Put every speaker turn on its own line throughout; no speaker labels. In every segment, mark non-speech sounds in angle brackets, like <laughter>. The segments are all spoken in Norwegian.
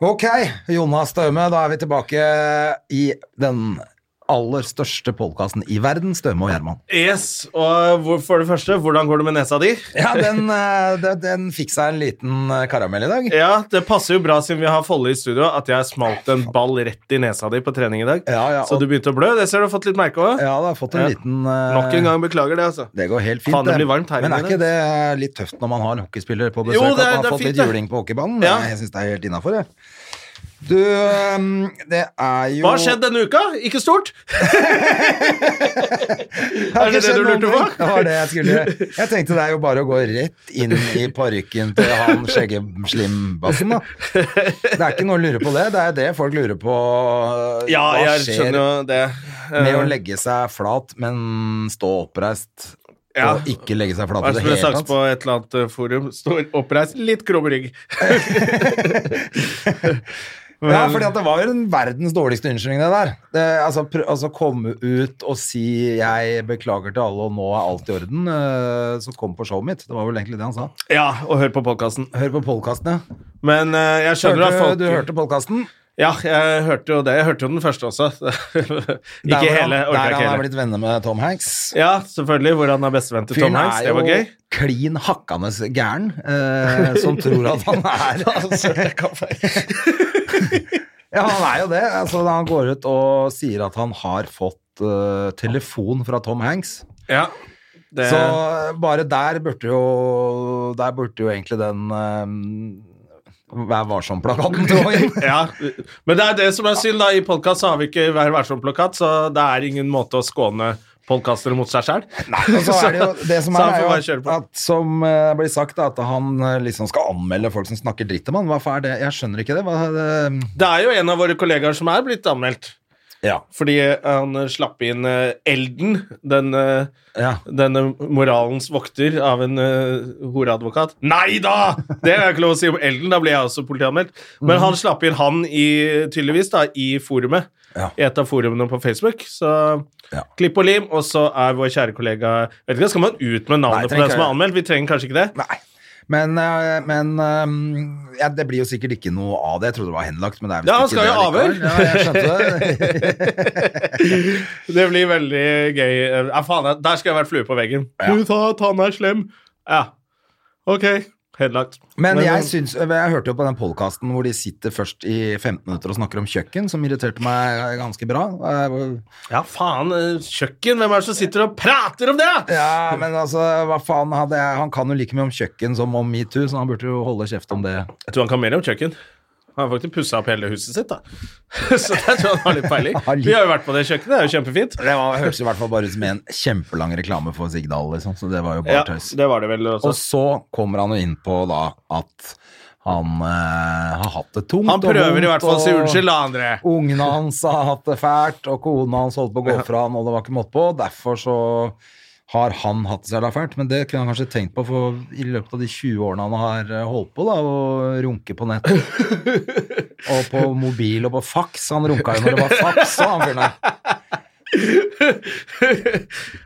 Ok, Jonas Støme, da er vi tilbake i den aller største podkasten i verden, Støme
<laughs>
og Gjerman.
Yes, og hvor- for det første, hvordan går det med nesa di?
Ja, den, eh, den, den fikk seg en liten eh, karamell i dag.
Ja, Det passer jo bra siden vi har Folle i studio, at jeg smalt en ball rett i nesa di på trening i dag.
Ja, ja,
Så
og-
du begynte å blø. Det ser du har fått litt merke òg.
Ja, det har fått en
Ja.
liten eh,
Nok en gang beklager det, altså.
Det går helt fint.
Faen, det blir varmt her
Men
inne i
er ikke det litt tøft når man har en hockeyspiller på besøk?
Jo, det er-
at man
det er
har fått
fint,
litt
det.
juling på hockeybanen?
Ja.
Nei, Jeg syns det er helt innafor, jeg. Du, øhm, det er jo
Hva har skjedd denne uka? Ikke stort.
Har
er det det
ikke skjedd
du lurte
noen ting.
på?
Det var det jeg
<laughs>
skulle Jeg tenkte det er jo bare å gå rett inn i parykken til han skjeggeslimbassen, da. Det er ikke noe å lure på det. Det er det folk lurer på. eh,
Ja,
Hva
jeg
skjer
skjønner jo det.
med å
Eh,
legge seg flat, men stå oppreist?
Ja.
Og ikke legge seg flat
Hva
i
som
det
ble
hele
sagt
tatt?
på et eller annet eh, forum? Står oppreist, litt krum rygg.
Ja, fordi at det var jo den verdens dårligste unnskyldning, det der. Det, altså, pr altså komme ut og si 'jeg beklager til alle, og nå er alt i orden', eh, så kom på showet mitt. Det var vel egentlig det han sa.
Ja, og hør på podkasten.
Hør på podkasten, ja.
Men eh, jeg skjønner at
Hørte,
folk
du hørte podkasten?
Ja, jeg hørte jo det. Jeg hørte jo den første også. <laughs> ikke hele.
Han, der
Orker
han
ikke
er
hele.
blitt venner med Tom Hanks.
Ja, selvfølgelig. Hvor han er bestevenn til Tom
Fyren
Hanks.
er
Det var
jo
gøy.
klin hakkende gæren, eh,
<laughs>
som tror at han er <laughs> Ja, han er jo det. Altså, han går ut og sier at han har fått eh, telefon fra Tom Hanks.
Ja, det,
Så eh, bare der burde jo Der burde jo egentlig den eh, Vær varsom-plakaten trå inn.
ja. Men det er det som er synd, da. I podkast har vi ikke Vær varsom-plakat, så det er ingen måte å skåne podkastere mot seg sjøl.
<laughs> Og Altså, så er det jo det som
<laughs> Så
er,
han får
er
bare
jo
kjøre på.
at som eh, blir sagt, da, at han eh, liksom skal anmelde folk som snakker dritt om han. Hvorfor er det? Jeg skjønner ikke det. Hva er det?
Det er jo en av våre kollegaer som er blitt anmeldt.
Ja.
Fordi han eh, slapp inn eh, Elden, den, eh,
Ja.
denne moralens vokter av en eh, horeadvokat. Nei da! Det er ikke lov å si om Elden, da blir jeg også politianmeldt. Men han slapp inn han i, tydeligvis da, i forumet,
Ja.
i et av forumene på Facebook. Så
Ja.
klipp og lim, og så er vår kjære kollega Vet ikke, Skal man ut med
Nei,
navnet på
trenger
den som
ikke.
er anmeldt? Vi trenger kanskje ikke det?
Nei. Men, eh, men eh, ja, det blir jo sikkert ikke noe av det. Jeg trodde det var henlagt, men det er
Ja, han
visst ikke
skal jo
det
avhør.
likevel. Ja, jeg <laughs> skjønte det.
Det blir veldig gøy. Ja, faen, der skal jeg være flue på veggen. Du sa at han er slem. Ja. Ok. eh, Henlagt.
Men eh, jeg syns Jeg hørte jo på den podkasten hvor de sitter først i 15 minutter og snakker om kjøkken, som irriterte meg ganske bra. Eh,
Ja, faen. eh, Kjøkken. Hvem er det som sitter og prater om det?
<laughs> Ja, men altså, hva faen hadde jeg Han kan jo like mye om kjøkken som om metoo, så han burde jo holde kjeft om det.
Jeg tror han kan mer om kjøkken. Han har faktisk pussa opp hele huset sitt, da. <laughs> Så der tror jeg han har litt peiling.
Har litt-
Vi har jo vært på det kjøkkenet, det er jo kjempefint.
Det var, hørtes i hvert fall bare ut som en kjempelang reklame for Sigdal, liksom, så det var jo bare
Ja,
tøys.
det var det vel
Og
også.
så kommer han jo inn på da at han eh, har hatt det tungt
Han
og
prøver
vondt,
i hvert fall å si
og
unnskyld, da, André.
Ungene hans har hatt det fælt, og kona hans holdt på å gå fra han, og det var ikke måte på. Derfor så har han hatt det særlig fælt, men det kunne han kanskje tenkt på, for i løpet av de 20 årene han har eh, holdt på, da, å runke
<laughs>
på nett. og på mobil og på faks. Han runka jo når det var faks, sa han fyren der.
<laughs>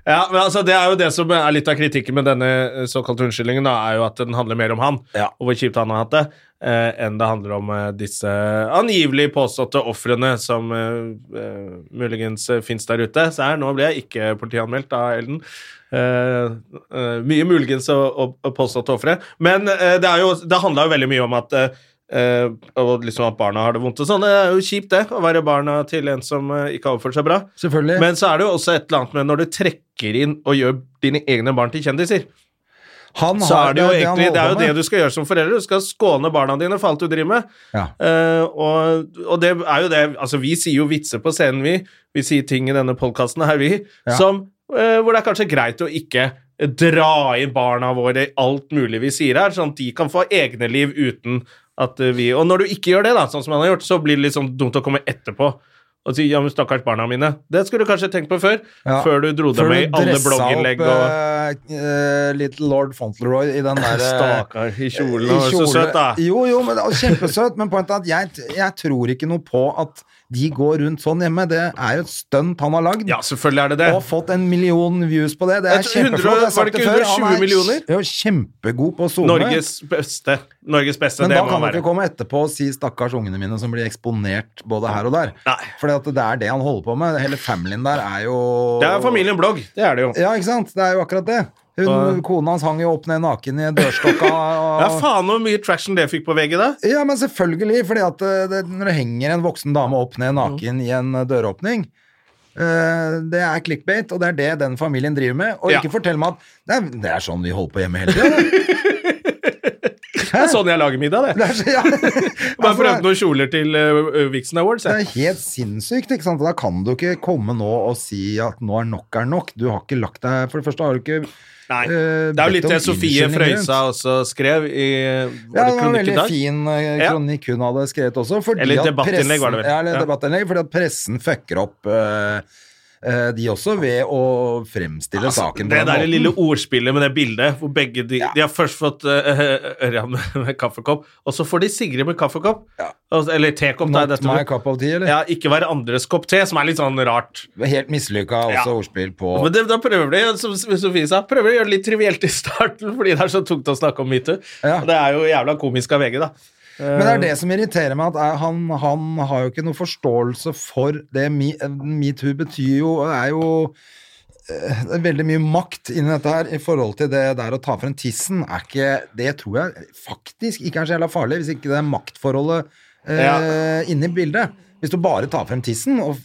ja, men altså, det er jo det som er litt av kritikken med denne eh, såkalte unnskyldningen, da, er jo at den handler mer om han,
Ja.
og hvor kjipt han har hatt det, eh, enn det handler om eh, disse angivelig påståtte ofrene som eh, eh, muligens eh, finnes der ute. Se her, nå ble jeg ikke politianmeldt av Elden. Eh, eh, mye muligens å, å, å påståtte ofre. Men eh, det, er jo, det handla jo veldig mye om at eh, eh, og liksom at barna har det vondt og sånn. Det er jo kjipt, det. Å være barna til en som eh, ikke har oppført seg bra.
Selvfølgelig.
Men så er det jo også et eller annet med når du trekker inn og gjør dine egne barn til kjendiser,
han
så er det jo
han
egentlig det er jo
holder
det
på med.
du skal gjøre som forelder. Du skal skåne barna dine for alt du driver med.
Ja.
Eh, og, og det er jo det Altså, vi sier jo vitser på scenen, vi. Vi sier ting i denne podkasten her, vi,
Ja.
som eh, Hvor det er kanskje greit å ikke dra inn barna våre i alt mulig vi sier her, sånn at de kan få egne liv uten At eh, vi, og når du ikke gjør det, da, sånn som han har gjort, så blir det litt sånn dumt å komme etterpå og si ja, men stakkars barna mine. Det skulle du kanskje tenkt på før,
Ja.
før du dro deg
Før
med i
du
alle
dressa
blogginnlegg
opp,
og
eh, eh, litt lord Fauntleroy i den der eh,
Stakkar, i kjolen. og Så
kjole.
søt, da.
Jo, jo, men, og kjempesøt, men poenget er at jeg, jeg tror ikke noe på at de går rundt sånn hjemme. Det er jo et stunt han har lagd.
Ja, selvfølgelig er det det.
Og fått en million views på det. Det er
Jeg tror 100
kjempeflott. Jeg
var
har
det
sagt det
ikke
før. Han
120
er
millioner?
jo kjempegod på å zoome.
Norges beste. Norges beste,
Men
det
da
må
kan
han
han
være.
ikke komme etterpå og si 'stakkars ungene mine' som blir eksponert både her og der.
Nei.
Fordi at det er det han holder på med. Hele familien der er jo
Det er familien Blogg, det er det jo.
Ja, ikke sant? Det er jo akkurat det. Hun,
Og-
Kona hans hang jo opp ned naken i
<laughs>
dørstokka. Og...
Ja, faen hvor mye traction det fikk på VG da.
Ja, men selvfølgelig, fordi at eh, det, når det henger en voksen dame opp ned
Mm.
naken i en eh, døråpning eh, Det er clickbait, og det er det den familien driver med. Og
Ja.
ikke fortell meg at det er, det er sånn vi holder på hjemme
<laughs>
hele tida.
Det er sånn jeg lager middag, det.
Ja.
Bare
Altså, det er-
prøvde noen kjoler til eh, Vixen Awards.
det
Jeg.
er helt sinnssykt, ikke sant? Da kan du ikke komme nå og si at nå er nok er nok. Du har ikke lagt deg For det første har du ikke
Nei.
eh,
Det er jo
bedt
litt
om
det Sofie
unnskyldning
Frøysa også skrev i
Ja,
vår
det var en
kronikk i
veldig
dag.
fin eh,
Ja.
kronikk hun hadde skrevet også. Fordi
Eller
at
debattinnlegg var det vel.
pressen- Ja, eller
Ja.
debattinnlegg, fordi at pressen fucker opp eh, eh, de også ved å fremstille saken på
Altså, Det
den
der
måten.
lille ordspillet med det bildet hvor begge de, de har først fått eh, Ørjan med, med kaffekopp, og så får de Sigrid med kaffekopp. Og- Eller tekopp, da.
Not
Dette.
my cup of tea, eller?
Ja, ikke hverandres kopp te, som er litt sånn rart.
Helt mislykka
Ja.
også ordspill på
Men det, da prøver de, som Sofie sa, prøver de å gjøre det litt trivielt i starten, <laughs> fordi det er så tungt å snakke om metoo.
Ja.
Og Det er jo jævla komisk av VG, da.
Men det er
Eh,
det som irriterer meg, at er, han, han har jo ikke noe forståelse for det Me- eh, metoo betyr jo Det er jo eh, det er veldig mye makt inni dette her i forhold til det der å ta frem tissen. Er ikke, det tror jeg faktisk ikke er så jævla farlig, hvis ikke det er maktforholdet eh,
Ja.
inne i bildet. Hvis du bare tar frem tissen, og,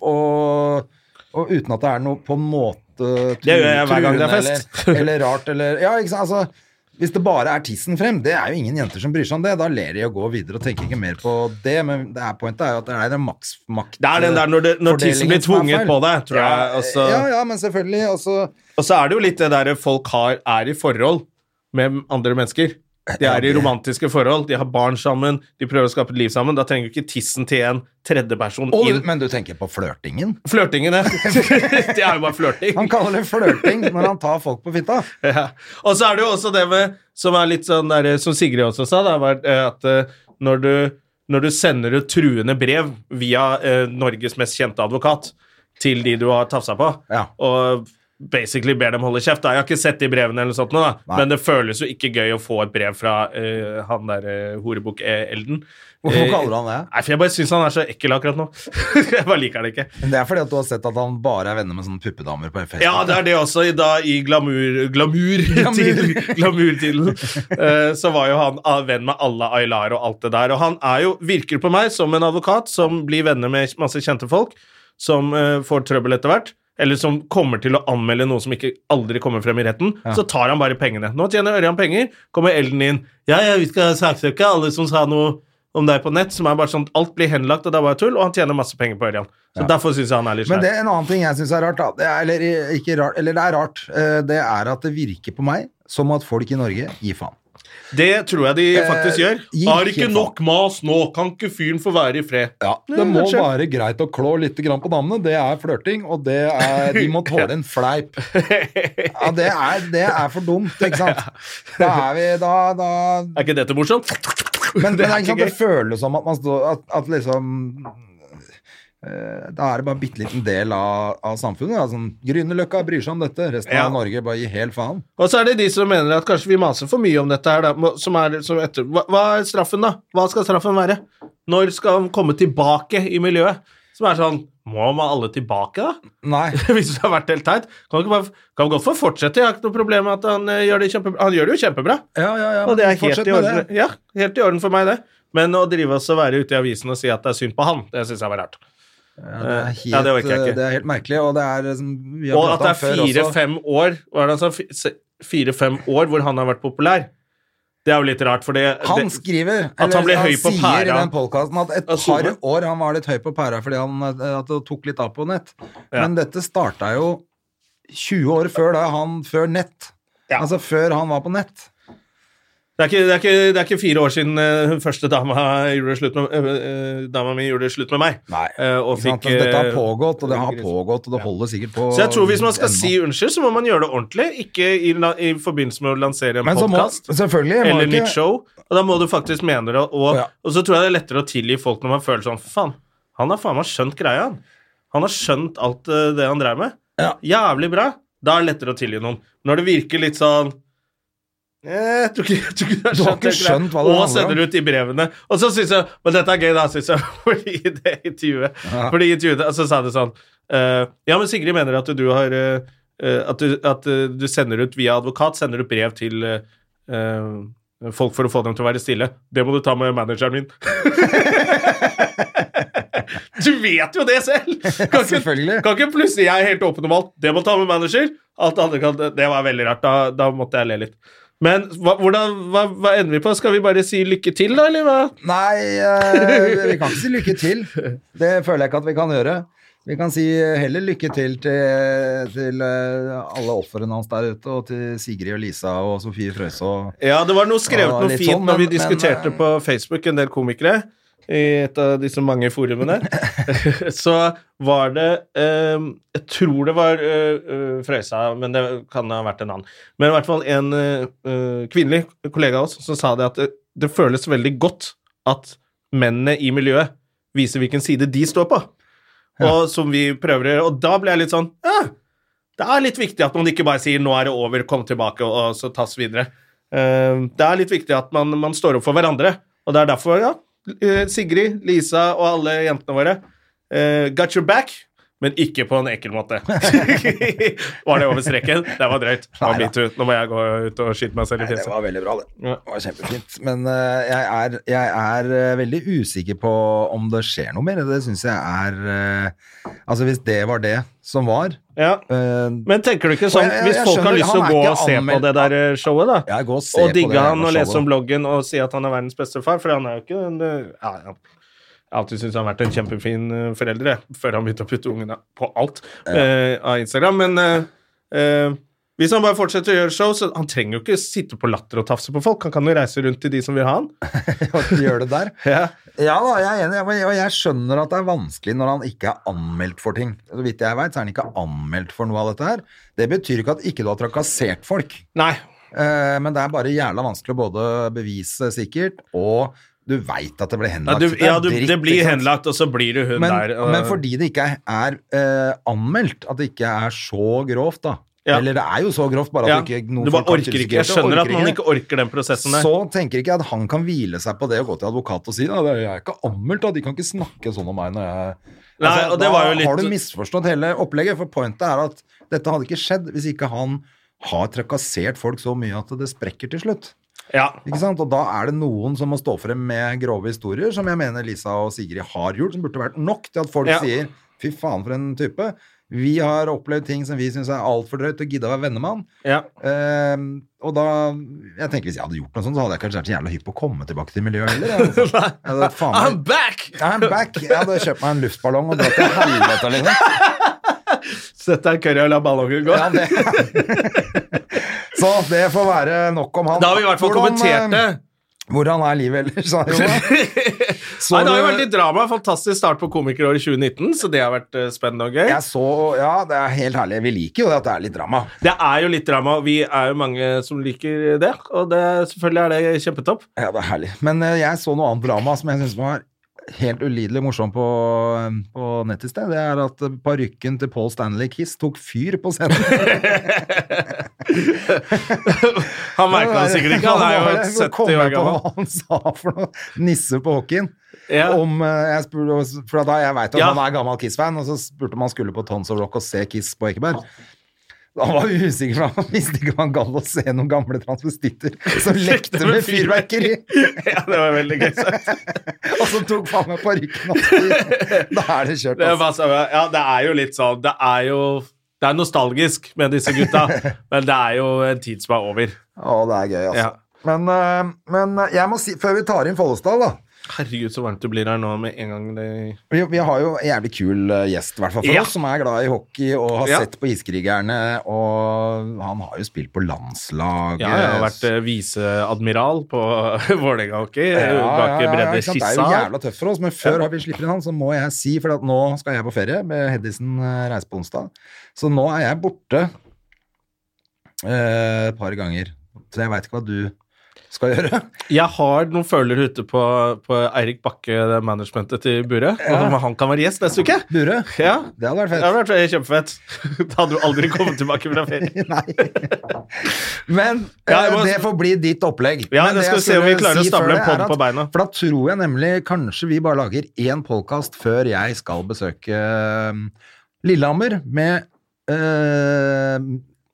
og, og uten at det er noe på en måte
Det gjør jeg hver gang det er
truende
fest.
Eller, eller rart, eller Ja, ikke sant, altså hvis det bare er tissen frem, det er jo ingen jenter som bryr seg om det. Da ler de og går videre og tenker ikke mer på det, men det er pointet er jo at det er den maks makt...
Det er den der når, det, når tissen blir
fordelingen som er
tvunget
feil.
på deg, tror jeg. altså. Og så,
Ja, ja, men selvfølgelig. Og så
og så er det jo litt det der folk har, er i forhold med andre mennesker. De er i romantiske forhold, de har barn sammen, de prøver å skape et liv sammen. Da trenger du ikke tissen til en tredjeperson
og,
inn.
Men du tenker på flørtingen?
Flørtingen, ja. <laughs> det er jo bare flørting.
Han kaller det flørting når han tar folk på fitta.
<laughs> Ja. Og så er det jo også det med Som er litt sånn der, som Sigrid også sa, da, var, eh, at eh, når du, når du sender ut truende brev via eh, Norges mest kjente advokat til de du har tafsa på,
Ja.
og basically ber dem holde kjeft da. Jeg har ikke sett de brevene, eller noe sånt, nå, da.
Nei.
men det føles jo ikke gøy å få et brev fra eh, han der uh, horebukk-Elden.
Hvorfor kaller han det?
Eh, Nei, for Jeg bare syns han er så ekkel akkurat nå. <laughs> jeg bare liker det ikke.
Men det er fordi at du har sett at han bare er venner med sånne puppedamer på Facebook.
<laughs> Ja, det er det også. I, da, i glamour, glamour, <laughs> til, glamourtiden eh, så var jo han ah, venn med alle Aylar og alt det der. Og han er jo, virker på meg som en advokat som blir venner med masse kjente folk, som eh, får trøbbel etter hvert. Eller som kommer til å anmelde noe som ikke aldri kommer frem i retten. Så tar han bare pengene. Nå tjener Ørjan penger, kommer Elden inn. Ja, ja, vi skal saksøke alle som sa noe om deg på nett, som er bare sånn Alt blir henlagt, og det er bare tull, og han tjener masse penger på Ørjan. Så derfor syns jeg han er litt
Men
slem.
det er en annen ting jeg syns er rart, da. Det er, eller, ikke rart, eller det er rart, eh, det er at det virker på meg som at folk i Norge gir faen.
Det tror jeg de faktisk gjør.
gi
Har ikke
helt
nok mas nå, kan ikke fyren få være i fred?
Ja, Det må være greit å klå litt grann på damene. Det er flørting, og det
<laughs>
er, de må tåle en fleip. Ja, Det er, det er for dumt,
<laughs>
ikke sant? Da er vi da, da
Er ikke dette morsomt?
Men,
det er
men ikke
ikke
sant, det
gøy.
føles som at man står At, at liksom eh, da er det bare en bitte liten del av, av samfunnet. da. Sånn, Grünerløkka bryr seg om dette. Resten
Ja.
av Norge bare gir helt faen.
Og så er det de som mener at kanskje vi maser for mye om dette her, da. må- Som er, som etter, hva, hva er straffen, da? Hva skal straffen være? Når skal han komme tilbake i miljøet? Som er sånn Må man alle tilbake, da? <laughs>
Nei.
Hvis det har vært helt teit? Kan, ikke bare, kan godt få fortsette. Jeg har ikke noe problem med at han eh, gjør det kjempebra. Han gjør det jo kjempebra.
Ja, ja, ja,
Og det er helt
fortsett
i
med
orden. Ja, helt i orden for meg, det. Men å drive oss og være ute i avisen og si at det er synd på han, det syns jeg var rart. Eh,
Ja, det, er helt, eh,
Ja, det orker jeg ikke.
det er helt merkelig, og det er som vi har
Og at
pratet
det
om
er
før også.
fire-fem år hva er det han sa? Fi- se- Fire-fem år hvor han har vært populær. Det er jo litt rart, for det,
Han
det
skriver,
han
eller han,
ble høy på
sier i
pæra.
den podcasten at et
At Solberg-
par år han var litt høy på pæra fordi han eh, at det tok litt av på nett.
Ja.
Men dette starta jo 20 år før da han før nett. Altså før han var på nett.
Det er, ikke, det, er ikke, det er ikke fire år siden eh, hun første dama, gjorde slutt med, eh, eh, dama mi gjorde slutt med meg.
Nei.
Eh, og
Ikke sant?
fikk,
Altså, Dette har
eh,
pågått, og det har
gris.
pågått, og det holder sikkert på
Så jeg tror hvis man skal
ennå.
si unnskyld, så må man gjøre det ordentlig. Ikke i, la- i forbindelse med å lansere en
Men så må
podkast
selvfølgelig må
eller
ikke-
nytt show. Og da må du faktisk mene det. Og,
Ja.
og så tror jeg det er lettere å tilgi folk når man føler sånn "Fy Faen, han har faen meg skjønt greia, han. Han har skjønt alt eh, det han dreiv med.
Ja.
Jævlig bra. Da er det lettere å tilgi noen. Når det virker litt sånn eh, jeg tror ikke, jeg tror ikke
Du har ikke
den
skjønt
greia.
hva det
Og
handler om.
sender ut de brevene. Og så synes jeg Men dette er gøy, da, synes jeg. <laughs> Fordi i det intervjuet
Ja.
Fordi i intervjuet altså, sa det sånn eh, Ja, men Sigrid mener at du har eh, eh, At, du, at eh, du sender ut via advokat Sender du brev til eh, eh, folk for å få dem til å være stille. Det må du ta med manageren min. <laughs> du vet jo det selv! Kan
selvfølgelig.
Kan ikke plutselig jeg er helt åpen om alt. Det må ta med manager. Alt det andre kan Det var veldig rart. Da, da måtte jeg le litt. Men hva, hvordan, hva, hva ender vi på? Skal vi bare si lykke til, da, eller hva?
Nei, eh, vi kan ikke si lykke til. Det føler jeg ikke at vi kan gjøre. Vi kan si heller lykke til til, til eh, alle ofrene hans der ute, og til Sigrid og Lisa og Sofie Frøysaa.
Ja, det var noe skrevet
Ja,
noe
litt
fint
sånn,
når vi
men-
diskuterte
men, eh,
på Facebook, en del komikere, i et av disse mange
<laughs>
forumene. Så var det eh, Jeg tror det var eh, eh, Frøysa, men det kan ha vært en annen. Men i hvert fall en eh, eh, kvinnelig kollega av oss som sa det at det, det føles veldig godt at mennene i miljøet viser hvilken side de står på, og som vi prøver å gjøre. Og da ble jeg litt sånn ja, det er litt viktig at man ikke bare sier 'nå er det over, kom tilbake', og, og så tas videre. Eh, det er litt viktig at man, man står opp for hverandre. Og det er derfor, ja, eh, Sigrid, Lisa og alle jentene våre eh, got your back. Men ikke på en ekkel
<laughs>
måte. var det over streken? Det var drøyt. Det var metoo. Nå må jeg gå ut og skyte meg selv i
Det
fjeset.
var veldig bra, det.
Ja.
Det var kjempefint. Men eh, jeg er, jeg er eh, veldig usikker på om det skjer noe mer. Det syns jeg er eh, Altså, hvis det var det som var
Ja.
eh,
Men tenker du ikke sånn,
Og jeg- jeg-
hvis
jeg
folk har
skjønner,
lyst til å
han er
gå
ikke
og se på
anmeldt.
det der eh, showet, da?
Ja, gå og se på
og
det
digge
jævla
han og lese
showet.
om bloggen og si at han er verdens beste far, for han er jo ikke en eh, ja, ja. Jeg har alltid syntes han har vært en kjempefin eh, forelder, jeg, <laughs> før han begynte å putte ungene på alt eh, av Instagram. Men eh, eh, hvis han bare fortsetter å gjøre show, så han trenger jo ikke sitte på latter og tafse på folk. Han kan jo reise rundt til de som vil ha han.
<laughs> at de gjør det der. <laughs> Ja da, jeg er enig, og jeg, og jeg skjønner at det er vanskelig når han ikke er anmeldt for ting. Så vidt jeg vet, så er han ikke anmeldt for noe av dette her. Det betyr ikke at ikke du har trakassert folk,
Nei.
eh, men det er bare jævla vanskelig å både bevise sikkert, og du veit at det ble
Ja,
henlagt.
du,
er
ja, du,
dritt,
det
ikke
blir
sant?
henlagt, og så blir du hun
Men,
der. og-
men fordi det ikke er, er eh, anmeldt, at det ikke er så grovt, da.
Ja.
Eller det er jo så grovt, bare at
ja,
du ikke
du bare orker ikke. Jeg skjønner at man ikke orker den prosessen der.
så tenker ikke jeg at han kan hvile seg på det og gå til advokat og si at jeg er ikke anmeldt, da. de kan ikke snakke sånn om meg når jeg Altså,
Nei, og det
Da
var jo litt-
har du misforstått hele opplegget, for pointet er at dette hadde ikke skjedd hvis ikke han har trakassert folk så mye at det sprekker til slutt.
Ja.
Ikke sant? Og da er det noen som må stå frem med grove historier, som jeg mener Lisa og Sigrid har gjort, som burde vært nok til at folk
Ja.
sier fy faen for en type. Vi har opplevd ting som vi syns er altfor drøyt, og gidde å være venner med han.
ja.
Ehm, og da jeg tenker Hvis jeg hadde gjort noe sånt, så hadde jeg kanskje vært så jævla hypp på å komme tilbake til miljøet heller. jeg,
<laughs>
Altså. Jeg hadde, faen meg-
I'm back!
I'm back! Jeg hadde kjøpt meg en luftballong og dratt til helvete,
<laughs>
liksom.
Sett deg i curry og la ballongen gå.
Ja, det. <laughs> Så det får være nok om han.
da har vi i hvert fall
Hvordan,
kommentert det.
eh, Hvordan er livet ellers? sa jeg jo.
<laughs>
Så
Nei, det har jo
du-
vært litt drama. Fantastisk start på komikeråret 2019, så det har vært eh, spennende og gøy.
Jeg så Ja, det er helt herlig. Vi liker jo at det er litt drama.
Det er jo litt drama, og vi er jo mange som liker det, og det, selvfølgelig er det kjempetopp.
Ja, det er herlig. Men eh, jeg så noe annet drama som jeg syns var helt ulidelig morsom på, eh, på nett i sted. Det er at eh, parykken til Paul Stanley Kiss tok fyr på scenen.
Han merka det sikkert ikke, han er jo
Nå
70
kom jeg
år
på
gammel.
hva han sa for noe. Nisse på hockeyen.
Ja.
Om, eh, jeg spurte, for da jeg veit at
Ja.
han er gammel Kiss-fan, og så spurte om han skulle på Tons of Rock og se Kiss på Ekeberg. Han var usikker, for han visste ikke om han gadd å se noen gamle transvestitter som lekte med fyrverkeri.
<laughs> ja, det var veldig gøy <laughs> sagt.
<laughs> Og så tok faen meg parykken hans i. Da er det kjørt.
Det er,
Altså.
bare så- ja, det er jo litt sånn Det er jo det er nostalgisk med disse <laughs> gutta, men det er jo en tid som er over.
Å, det er gøy,
Ja.
altså. eh, Men, eh, men jeg må si, før vi tar inn Follestad, da
Herregud, så varmt det blir her nå med en gang det
Vi, vi har jo en jævlig kul eh, gjest, i hvert fall for
Ja.
oss, som er glad i hockey og har
Ja.
sett på Iskrigerne. Og han har jo spilt på landslaget.
Ja, jeg har vært eh, viseadmiral på <laughs> Vålerenga hockey.
Ja, ja,
bak
ja, ja,
Brede
ikke sant? Det er jo
Skissa.
jævla tøft for oss, men før vi slipper inn han, så må jeg si, for at nå skal jeg på ferie med Hedisen eh, reise på onsdag, så nå er jeg borte eh, et par ganger. Så jeg veit ikke hva du skal gjøre. <laughs>
Jeg har noen følere ute på, på Eirik Bakke, det er managementet til Bure.
Ja.
Og han kan være gjest neste uke.
Bure,
Ja.
det hadde vært
Det
fett.
hadde vært kjempefett. <laughs> Da hadde du aldri kommet tilbake fra ferie.
<laughs> Nei. Men
Ja, jeg
eh,
må-
det får bli ditt opplegg.
Ja,
Men
det skal
jeg
vi se om vi
skulle
klarer å stable en
før det
podd
er at-
på beina.
For da tror jeg nemlig kanskje vi bare lager én podkast før jeg skal besøke eh, Lillehammer med eh,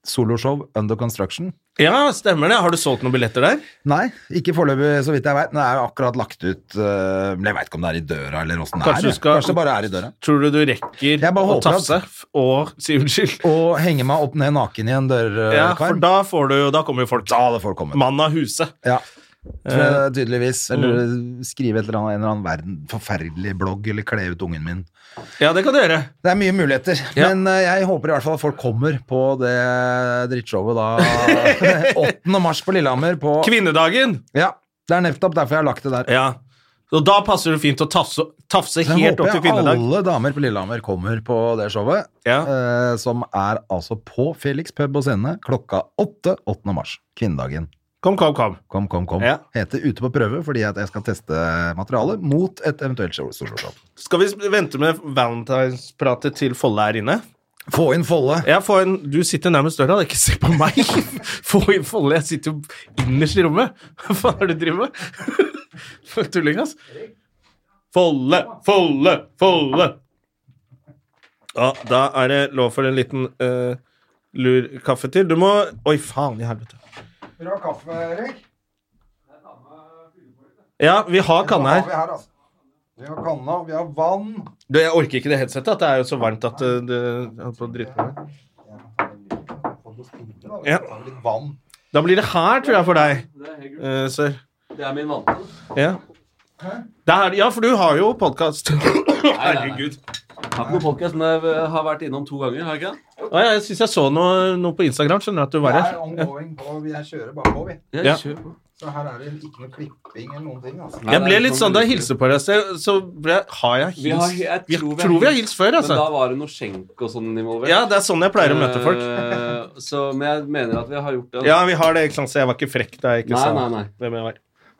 soloshow Under Construction.
Ja, stemmer det. Har du solgt noen billetter der?
Nei, ikke foreløpig, så vidt jeg veit. Men det er jo akkurat lagt ut eh, Men Jeg veit ikke om det er i døra, eller åssen det
Kanskje du
er.
skal-
Kanskje det bare er i døra.
Tror du du rekker
Jeg bare
å
håper at-
tafse f- og si unnskyld?
Og henge meg opp ned naken i en eh,
Ja, for
dørkarm.
da får du jo Da kommer jo folk.
da hadde folk kommet.
Mann av huset.
Ja.
Eh,
Tror jeg Tydeligvis. Eller skrive et eller annet, en eller annen verden, forferdelig blogg, eller kle ut ungen min.
Ja, det kan du gjøre.
Det er mye muligheter.
Ja.
Men eh, jeg håper i hvert fall at folk kommer på det drittshowet da
<laughs>
8. mars på Lillehammer. På,
Kvinnedagen!
ja, det er nettopp derfor jeg har lagt det der.
Ja. Og da passer det fint å tafse, tafse
Så jeg
helt opp til
håper jeg
kvinnedag.
alle damer på Lillehammer kommer på det showet,
Ja.
eh, som er altså på Felix pub og scene klokka 8. 8. mars. Kvinnedagen.
Kom, kom, kom.
Kom, kom, kom.
Ja.
Heter Ute på prøve fordi at jeg skal teste materialet mot et eventuelt sol- soloshow.
Skal vi sp- vente med valentinspratet til Folle her inne?
Få inn Folle.
Jeg får en, du sitter nærmest døra, da. ikke se på meg! <laughs> Få inn Folle, jeg sitter jo innerst i rommet! <laughs> Hva faen er det du driver med? <laughs> For en tulling, ass. Folle, Folle, Folle! Ja, da er det lov for en liten eh, lur kaffe til. Du må Oi, faen i helvete.
Vil du ha kaffe, Erik?
Ja, vi har kanne her.
her, altså. Vi har kanna, vi har vann.
Du, jeg orker ikke det headsetet. at Det er jo så varmt at eh, det jeg holdt på å drite meg ut. Ja.
Litt vann.
Da blir det her, tror jeg, for deg, eh, sir.
Det er min vante.
Ja. Det er, ja, for du har jo podkast. Herregud.
Har ikke noen podcast, men jeg eh, har vært innom to ganger. har jeg ikke det?
Å, jeg syns jeg så noe, noe på Instagram. Skjønner at du var her.
Jeg kjører bare på, vi.
Jeg
Ja.
kjører på.
Så her er det ikke noe klipping eller noen ting. Altså.
Jeg ble litt sånn da jeg hilste på deg, så- så ble, jeg- har jeg
Vi har-
hilst
jeg
Vi
tror vi
tror vi har hilst før,
Men da
altså.
var det noe skjenk og sånn involvert.
Ja, det er sånn jeg pleier å møte folk.
Eh, så, men jeg mener at vi har gjort det. altså.
Ja, vi har det, ikke sant, så jeg var ikke frekk da jeg ikke
Nei,
sa
nei, nei.
hvem jeg var.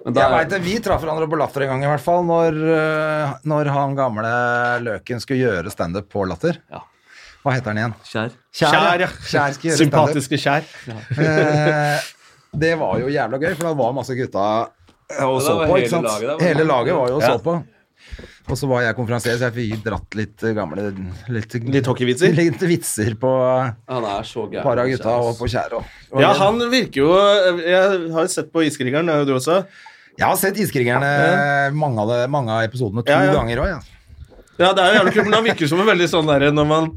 Men da
Jeg
er-
vet, det, Vi traff hverandre på Latter en gang, i hvert fall, når, øh, når han gamle løken skulle gjøre standup på Latter.
Ja.
Hva heter han igjen?
Kjær.
Kjær, ja.
Kjær skal gjøre standup.
Sympatiske kjær.
Eh, det var jo jævla gøy, for da var masse gutta og
Ja, da
så
var
på.
hele
ikke sant?
laget der, var det?
hele laget var jo og
Ja.
så på. Og så var jeg konferansier, så jeg fikk dratt litt eh, gamle Litt,
Litt hockeyvitser?
Litt vitser på et
Han er så gæren.
par av
Kjær,
gutta og
ass.
på Kjær òg.
Ja, han virker jo eh, Jeg har jo sett på Iskrigeren, det har jo du også.
Jeg har sett Iskrigerne mange av, det, mange av episodene to
Ja, ja.
ganger òg. Ja.
Ja, det er jo jævlig kult, men han virker som en veldig sånn derre når man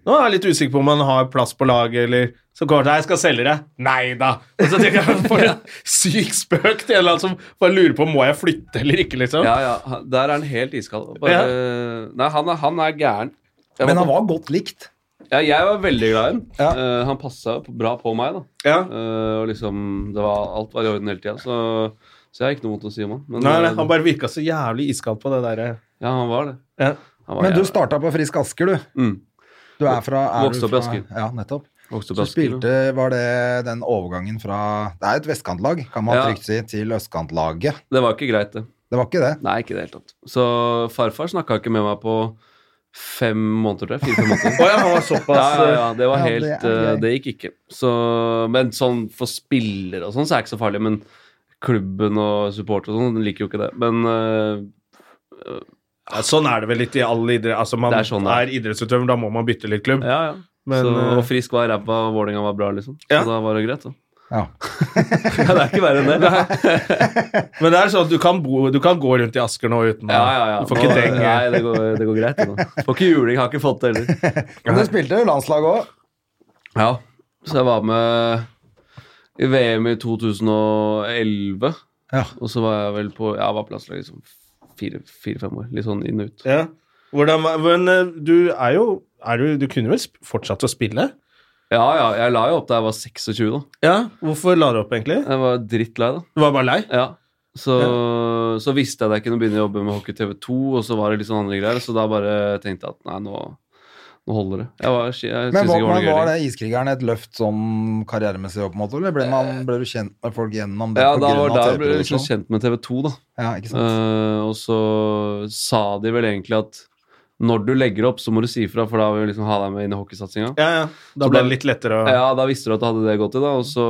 nå er jeg litt usikker på om man har plass på laget, eller så går det, jeg skal selge det. Nei da! Og så tenker jeg, <laughs> For en syk spøk til en eller annen som bare lurer på må jeg flytte eller ikke. liksom.
Ja, ja. han- Der er han helt iskald. Bare, Nei, han er, han er gæren. Jeg
Men han var godt likt.
ja, jeg var veldig glad i ham.
Ja.
han passa bra på meg. da.
Ja.
Eh, og liksom, det var, Alt var i orden hele tida, så, så jeg har ikke noe vondt å si om han. Men,
Nei, nei,
eh,
Han bare virka så jævlig iskald på det eh. derre
Ja, han var det.
ja.
Han var
Men du
jævla-
starta på Frisk Asker, du.
Mm.
Du er fra er
Vokste
du
opp i
fra-
Asker.
Ja, nettopp.
Vokste opp i
Så
Asker,
spilte, var det den overgangen fra Det er et vestkantlag, kan man
Ja.
trygt si, til østkantlaget.
Det var ikke greit, det.
Det var ikke det.
Nei, ikke i det hele tatt. Så farfar snakka ikke med meg på fem måneder, tror jeg. Fire-fem
<laughs>
måneder.
ja, han var såpass
Ja, ja, ja, det var
Ja, det
helt eh,
er
Det,
greit.
gikk ikke. Så, men sånn for spillere og sånn, så er det ikke så farlig. Men klubben og supporter og sånn, den liker jo ikke det. Men eh,
Ja, Sånn er det vel litt i all idrett. Altså, man
Det
er,
er sånn det er.
idrettsutøver, da må man bytte litt klubb.
ja, ja.
Men,
så,
eh,
og Frisk var ræva, og Vålerenga var bra, liksom.
Ja.
Så da var det greit, da. <laughs>
Ja.
Ja, det er ikke verre enn det.
Men det er sånn at du kan, bo, du kan gå rundt i Asker nå uten å-
<laughs> Ja, ja, ja.
Du får ikke
Nå-
deng.
Nei, det går, det går greit. det nå. Får ikke juling, har ikke fått det heller.
Men du spilte jo landslag òg.
Ja, så jeg var med i VM i 2011,
Ja.
og så var liksom? jeg vel på Jeg var på landslaget som fire-fem år. Litt sånn inn og ut.
Ja. Hvordan, var- men eh, du er jo er du, du kunne vel sp- fortsatt å spille?
Ja, ja, jeg la jo opp da jeg var 26, da.
Ja. Hvorfor la du opp, egentlig?
Jeg var drittlei, da.
Du var bare lei?
Ja. Så, så visste jeg at jeg kunne begynne å jobbe med Hockey TV 2, og så var det litt sånn andre greier, så da bare tenkte jeg at nei, nå, nå holder det. Jeg, var, jeg
Men
synes
var,
ikke det var
men
noe gøy.
var
lenger.
det iskrigeren et løft sånn karrieremessig opp mot, eller ble, man, ble du kjent med folk gjennom det?
Ja,
på
da
grunn
var
av
da jeg ble jeg liksom
TV-produksjon?
kjent med TV 2, da.
Ja, ikke sant?
Eh, og så sa de vel egentlig at når du legger opp, så må du si ifra, for da vil vi liksom ha deg med inn i hockeysatsinga.
Ja, ja. Da
Så
ble
da-
det litt lettere å
Ja, da visste du at du hadde det godt i, da. Og så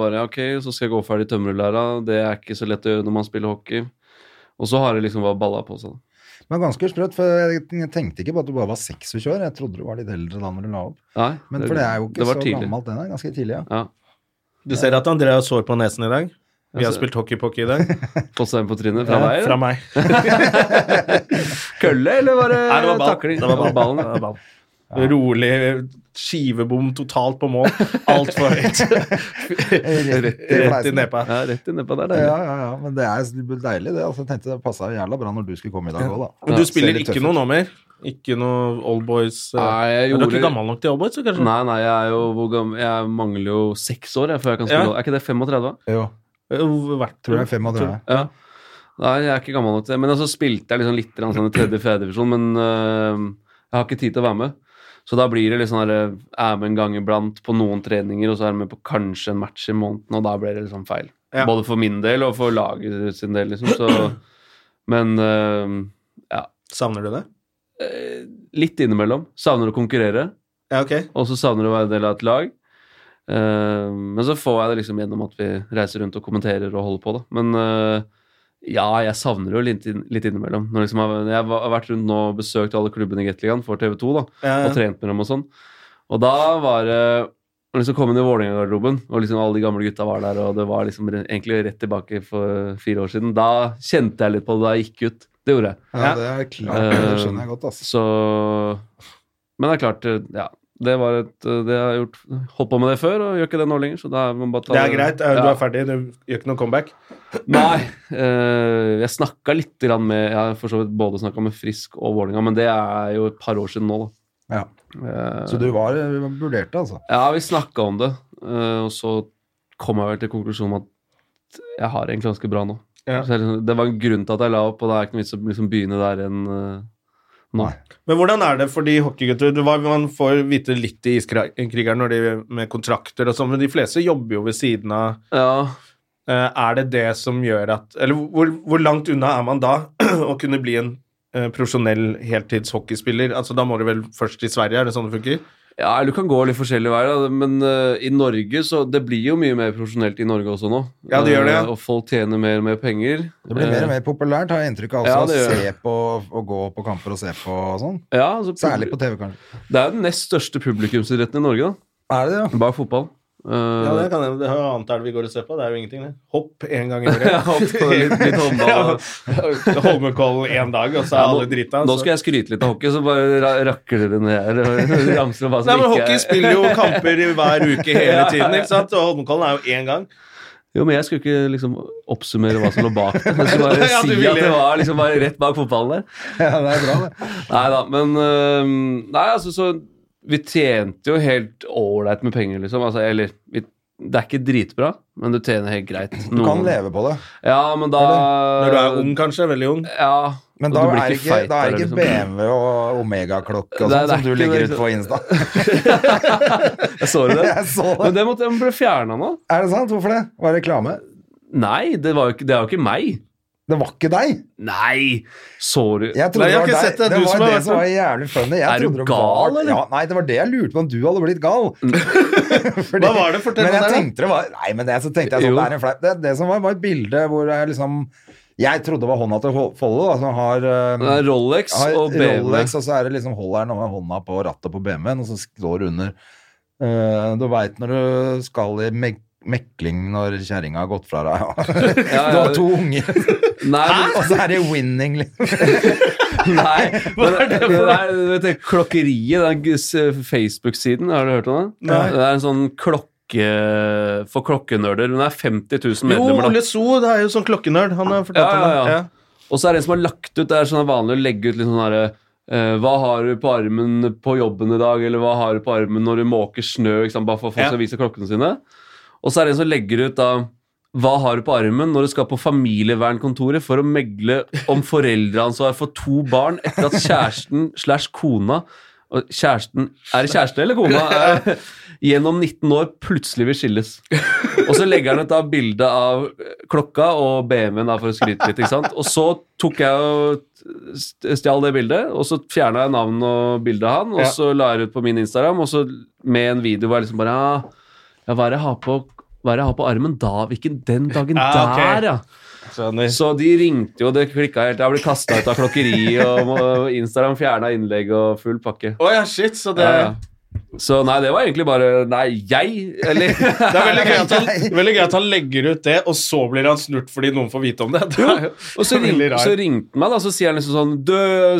bare ok, så skal jeg gå ferdig tømrerlæra. Det er ikke så lett å gjøre når man spiller hockey. Og så har det liksom bare balla på seg. da.
Men ganske sprøtt, for jeg tenkte ikke på at du bare var 26 år. Jeg trodde du var litt eldre da når du la opp.
Nei,
Men for det er jo ikke
det var
så
tidlig.
gammelt, den er ganske tidlig, ja.
Ja.
Du ser at André har sår på nesen i dag. Vi har
ser-
spilt hockeypocky i dag.
Fått seg en på trynet fra deg?
Altså- <laughs> Fra
eller?
<laughs> meg.
Kølle, eller var det,
Nei, det var ball.
takling?
Det var ball.
ballen.
Det var ball. Rolig skivebom totalt på mål. Altfor høyt.
Rett i
<laughs> Rett i
fleisen.
nepa.
Ja, rett i nedpå der.
Ja,
deilig.
ja, ja, men det er deilig, det. Altså, jeg tenkte det passa jævla bra når du skulle komme i dag òg, da.
Men
Ja,
du spiller
ser litt
ikke
tøff
noe nå mer? Ikke noe Old Boys? eh,
Nei, jeg
Er du
gjorde-
ikke gammel nok til Old Boys? så kanskje?
Nei, nei, jeg, er jo, hvor gammel, jeg mangler jo seks år jeg, før jeg kan
Ja.
spille. Er ikke det 35?
Jo,
Eh, hvor- hvert-
tror jeg er 35.
Ja. Nei, jeg er ikke gammel nok til det. Men altså spilte jeg liksom litt grann sånn i tredje-fjerde divisjon, men øh, jeg har ikke tid til å være med. Så da blir det litt sånn her, er med en gang iblant på noen treninger, og så er jeg med på kanskje en match i måneden, og da blir det liksom feil.
Ja.
Både for min del og for laget sin del, liksom. Så, men øh,
Savner du det?
eh, litt innimellom. Savner å konkurrere.
Ja, ok.
Og så savner du å være del av et lag. Eh, men så får jeg det liksom gjennom at vi reiser rundt og kommenterer og holder på, da. Men eh, ja, jeg savner det jo litt, inn, litt innimellom. Når liksom jeg, jeg har vært rundt nå og besøkt alle klubbene i Gateligaen for TV2, da.
Ja,
Og trent med dem og sånn. Og da var det å liksom komme inn i Vålerenga-garderoben, og liksom alle de gamle gutta var der, og det var liksom re- egentlig rett tilbake for fire år siden. Da kjente jeg litt på det da jeg gikk ut. Det gjorde jeg.
Ja, det er klart.
Eh,
Det skjønner jeg godt, altså.
Så Men det er klart, eh, ja. Det var et eh, Det har jeg gjort Holdt på med det før, og gjør ikke det nå lenger, så da må man bare ta
Det er greit. eh, Du
Ja.
er ferdig. Du gjør ikke noe comeback.
Nei. eh, jeg snakka litt grann med Jeg har for så vidt både snakka med Frisk og Vålinga, men det er jo et par år siden nå, da.
Ja.
Eh,
Så du var vurderte, altså.
Ja, vi snakka om det, eh, og så kom jeg vel til konklusjonen med at jeg har det egentlig ganske bra nå.
Ja.
Så jeg liksom- det var en grunn til at jeg la opp, og det er ikke noe vits å liksom begynne der igjen eh, nå.
Nei.
Men hvordan er det for de hockeygutter? Du var- Man får vite litt i Iskrigeren når de med kontrakter og sånn, men de fleste jobber jo ved siden av
Ja,
Eh, Er det det som gjør at Eller hvor, hvor langt unna er man da <clears throat> å kunne bli en eh, profesjonell heltidshockeyspiller? Altså, da må du vel først til Sverige, er det sånn det funker?
Ja, eller du kan gå litt forskjellige veier, da, men eh, i Norge så Det blir jo mye mer profesjonelt i Norge også nå.
Ja, det gjør det, ja.
Eh, og folk tjener mer og mer penger.
Det blir mer og mer populært, har jeg inntrykk av.
Eh. Ja,
Altså,
det gjør
å se på og gå på kamper og se på og sånn.
Eh, ja, altså,
Særlig på TV, kanskje.
Det er jo den nest største publikumsidretten i Norge, da.
Er det det, ja?
Bare fotball. Eh,
Ja, det kan jeg, det er jo annet er det vi går og ser på. Det er jo ingenting, det. Hopp én gang i
<laughs>
<laughs>
jeg
året.
håper på litt,
<laughs>
litt håndball. og-
Holmenkollen én dag, og så er
Ja, nå,
alle drita. altså.
nå skal jeg skryte litt av hockey, så bare ra rakker dere ned her. og <laughs> ramser om hva
Nei, men
som ikke er-
Hockey spiller jo kamper hver <laughs> uke hele tiden, ikke sant? og Holmenkollen er jo én gang.
Jo, men jeg skulle ikke liksom oppsummere hva som lå bak det. Jeg skulle
<laughs>
bare
Ja, du
si
ville.
at det var liksom bare rett bak fotballen der.
ja? Det er bra, det.
Nei da, men øhm, Nei, altså, så Vi tjente jo helt ålreit med penger, liksom. Altså, eller vi, Det er ikke dritbra, men du tjener helt greit.
Du
Noen-
kan leve på det.
Ja, men da
Når du er ung, kanskje. Veldig ung.
Ja.
Men
og
da
du
er
blir liksom.
det ikke,
feit
da er det
av det,
ikke BMW og Omega-klokke og
Det er-
sånn
det er
som du
ikke
legger
det,
ut på Insta. <laughs>
Jeg så det.
Jeg så det.
Men det måtte den ble fjerna nå.
Er det sant? Hvorfor det? Var det reklame?
Nei, det, var jo ikke, det er jo ikke meg.
Det var ikke deg!
Nei! Sorry.
Jeg trodde
Nei, jeg har
det
ikke
var
sett
deg.
det.
Det
Du som
var
har vært
det
sånn,
som
med.
var jævlig funny. Jeg
Er du
trodde det
gal,
var-
eller?
Ja, nei, det var det jeg lurte på om du hadde blitt gal. Fordi-
<laughs> Hva var det? Fortell
men
meg det,
jeg
da.
tenkte det var Nei, men det, så tenkte jeg sånn,
Jo.
det er en fleip. Det, det som var, var et bilde hvor jeg liksom Jeg trodde det var hånda til Fol- Follo, da, som har eh,
Det er Rolex
har
og BMW.
Rolex, og så er det liksom holder den med hånda på rattet på BMW-en, og så står det under. Eh, du veit når du skal i mek mekling når kjerringa har gått fra
<laughs>
deg. Du har to unger,
Nei, men-
og så er det winning, liksom.
Nei, men det, det er, vet du, klokkeriet, den gus- eh, Facebook-siden, har du hørt om det?
Nei.
Det er en sånn klokke for klokkenerder. Hun er 50 000
Jo,
medlemmer,
Ole
da.
So, det er jo sånn klokkenerd. Han har fortalt
Ja, ja,
om det.
ja.
Ja.
Og så er det en som har lagt ut Det er sånn vanlig å legge ut litt sånn herre eh, hva har du på armen på jobben i dag, eller hva har du på armen når du måker snø? Ikke sant? Bare for at folk
Ja.
skal vise klokkene sine. Og så er det en som legger ut da Hva har du på armen når du skal på familievernkontoret for å megle om foreldreansvar for to barn etter at kjæresten slash kona og Kjæresten Er det kjæreste eller kona? Eh, Gjennom 19 år plutselig vil skilles. Og så legger han ut da bilde av eh, klokka og BMW-en da for å skryte litt. ikke sant? Og så tok jeg og st- stjal det bildet, og så fjerna jeg navnet og bildet av han, og
Ja.
så la jeg det ut på min Instagram, og så med en video hvor jeg liksom bare ja, ja, hva er det jeg har på hva er det jeg har på armen da? Hvilken den dagen
Ja, ok.
der, ja?
Skjønner.
Ah, Så de ringte jo, det klikka helt. Jeg ble kasta ut av klokkeriet, og og Instagram fjerna innlegg og full pakke.
Å ja, shit, så det
Ja, ja. Så nei, det var egentlig bare Nei, jeg, eller
Det er veldig gøy, at han, veldig gøy at han legger ut det, og så blir han snurt fordi noen får vite om det. <laughs> det er jo
Og
<laughs>
så, ring,
veldig rart.
så ringte han meg, da, så sier han liksom sånn Du,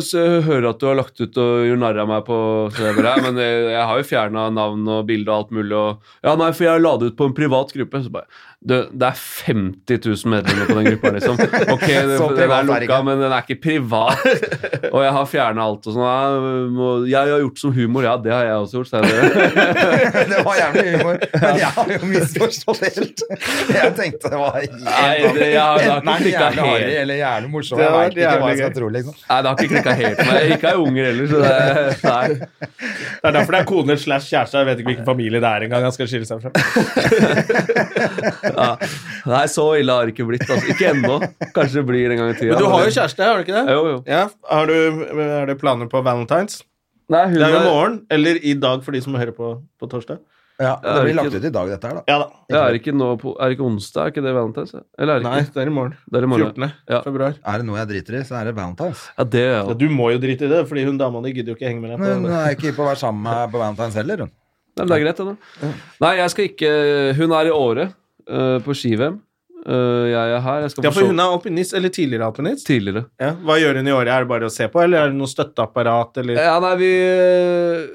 så jeg hører at du har lagt ut og gjør narr av meg på så jeg bare, «Nei, Men jeg, jeg har jo fjerna navn og bilde og alt mulig, og Ja, nei, for jeg la det ut på en privat gruppe. Så bare Du, det er 50 000 medlemmer på den gruppa, liksom. Ok,
<laughs> Så
den
privat
er
er det
lukka,
ikke.
men den er ikke privat. Og jeg har fjerna alt og sånn. «Nei, må- Jeg har gjort som humor, ja, det har jeg også gjort, sa jeg.
<laughs> Det var jævlig humor. Men jeg har jo misforstått helt. Jeg tenkte det var
Nei, det- jeg har- det har
Enten er den
ikke klikket
jævlig harry
helt.
eller jævlig morsom.
Det
Jeg
var
veit ikke hva jeg
jævlig
skal tro, liksom.
Nei, det har ikke klikka helt med meg. Ikke er unger heller, så det nei.
Det er derfor det er koner slash kjæreste. Jeg vet ikke hvilken familie det er engang. Han skal skille seg fra.
Ja. Nei, så ille har det ikke blitt. Altså. Ikke ennå. Kanskje det blir en gang i tida.
Men du har jo kjæreste, har du ikke det?
Jo, jo.
Ja, har du, Er det planer på valentines?
Nei, hun
Det er jo i
har,
morgen, eller i dag for de som hører på på torsdag.
Ja, det
ikke-
blir lagt ut i dag, dette her, da.
Ja da.
det er ikke nå på Er det ikke onsdag? Er ikke det Valentine's? Eller er det
Nei,
ikke?
det er i morgen.
Det er i morgen.
14.
Ja.
februar.
Er det noe jeg driter i, så er det Valentine's.
Ja, det gjør jeg
Ja,
også.
du må jo drite i det, fordi hun dama di gidder jo ikke henge med deg.
Men eh,
på
hun
det.
er ikke på å være sammen med på Valentine's heller, hun.
Nei, men Det er greit, det, da. Nei, jeg skal ikke Hun er i Åre, øh, på ski-VM. Øh, jeg er her. Jeg skal
Ja,
på
for
show
hun er alpinist, eller tidligere alpinist.
tidligere.
Ja. Hva gjør hun i året? Er det bare å se på, eller er det noe støtteapparat, eller
Ja, nei, vi
eh,
øh,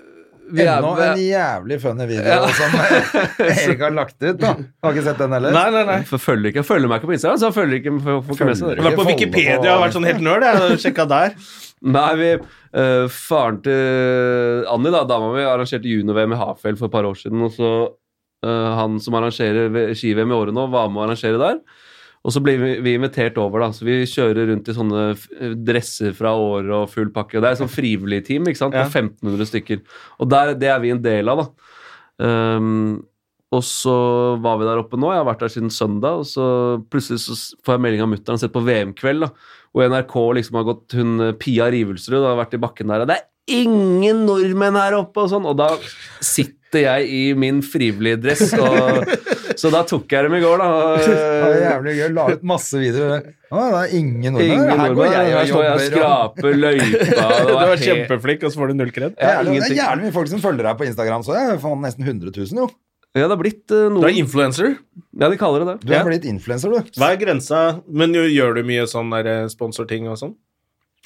Vi er
Enda en
med
jævlig funny video som eh,
<laughs>
Erik har lagt ut, da. Har ikke sett den heller?
Nei, nei, nei.
For følger ikke Jeg følger meg ikke på Instagram, så jeg følger ikke får får ikke med seg
Jeg har
det.
vært på Wikipedia og vært sånn helt nerd. Jeg har sjekka der.
Nei, vi øh, Faren til Anni, da, dama mi, arrangerte junior-VM i Hafjell for et par år siden, og så Eh, han som arrangerer ve- ski-VM i året nå, var med å arrangere der. Og så blir vi, vi invitert over, da. Så vi kjører rundt i sånne f- dresser fra året og full pakke. Og det er sånn frivillig team, ikke sant, på
Ja.
1500 stykker. Og der, det er vi en del av, da. Ehm, og så var vi der oppe nå. Jeg har vært der siden søndag. Og så plutselig så s- får jeg melding av mutter'n sett på VM-kveld, da. Og NRK liksom har gått Hun eh, Pia Rivelsrud har vært i bakken der. Og det er ingen nordmenn her oppe! Og sånn. Og da sitter jeg i min frivillige dress.
<laughs>
Og, så da tok jeg dem i går,
Det var
da.
jævlig gøy. La ut masse videoer. Å, det er ingen
Ingen
nordmenn. Her
nordmenn.
går jeg
Her
og
står jeg og
jobber. og-
skraper
<laughs>
<laughs>
løypa.
Du
Det var
var
helt
kjempeflink, og så får du null kred.
Det er, det er
ingenting.
jævlig mye folk som følger deg på Instagram, så jeg. Faen, nesten 100 000, jo.
Ja, det har blitt eh,
Du er
noen
influenser.
Ja, de kaller det det.
Du er
Ja.
blitt influenser, du.
Hva er grensa? Men jo, gjør du mye sånn der, eh, sponsorting og sånn?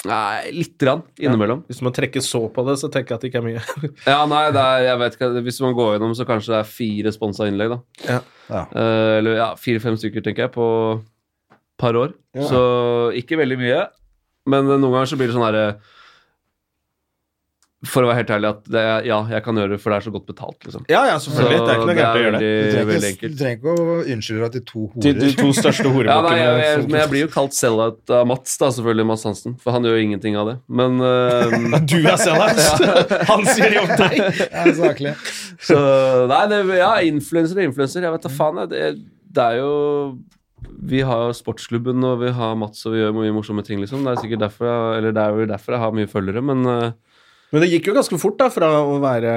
Nei, lite grann innimellom.
Hvis man trekker så på det, så tenker jeg at det ikke er mye.
Ja, nei, det er, jeg vet ikke Hvis man går gjennom, så kanskje det er fire sponsa innlegg, da.
Ja.
Eh, eller ja, fire-fem stykker, tenker jeg, på par år. Så ikke veldig mye. Men eh, noen ganger så blir det sånn herre For å være helt ærlig, at det er, ja, jeg kan gjøre det, for det er så godt betalt, liksom.
<laughs> Ja, ja, selvfølgelig. det er ikke noe gærent å gjøre det.
veldig,
Du trenger
veldig
ikke, du
enkelt.
trenger ikke å unnskylde deg til to
De, de
horer.
to største
Ja, nei, jeg, jeg, men
horebukkene.
jeg blir jo kalt sell-out av Mats, da, selvfølgelig, Mats Hansen. For han gjør jo ingenting av det.
<laughs>
Men eh,
Du er sellout! <laughs> Han sier det om deg!
<laughs> Ja, saklig.
Så Nei, det, ja, influenser og influenser. Jeg vet da faen. jeg. Det, det er jo Vi har sportsklubben, og vi har Mats, og vi gjør mye morsomme ting, liksom. Det er sikkert derfor jeg, eller det er jo derfor jeg har mye følgere, men eh,
Men det gikk jo ganske fort, da, fra å være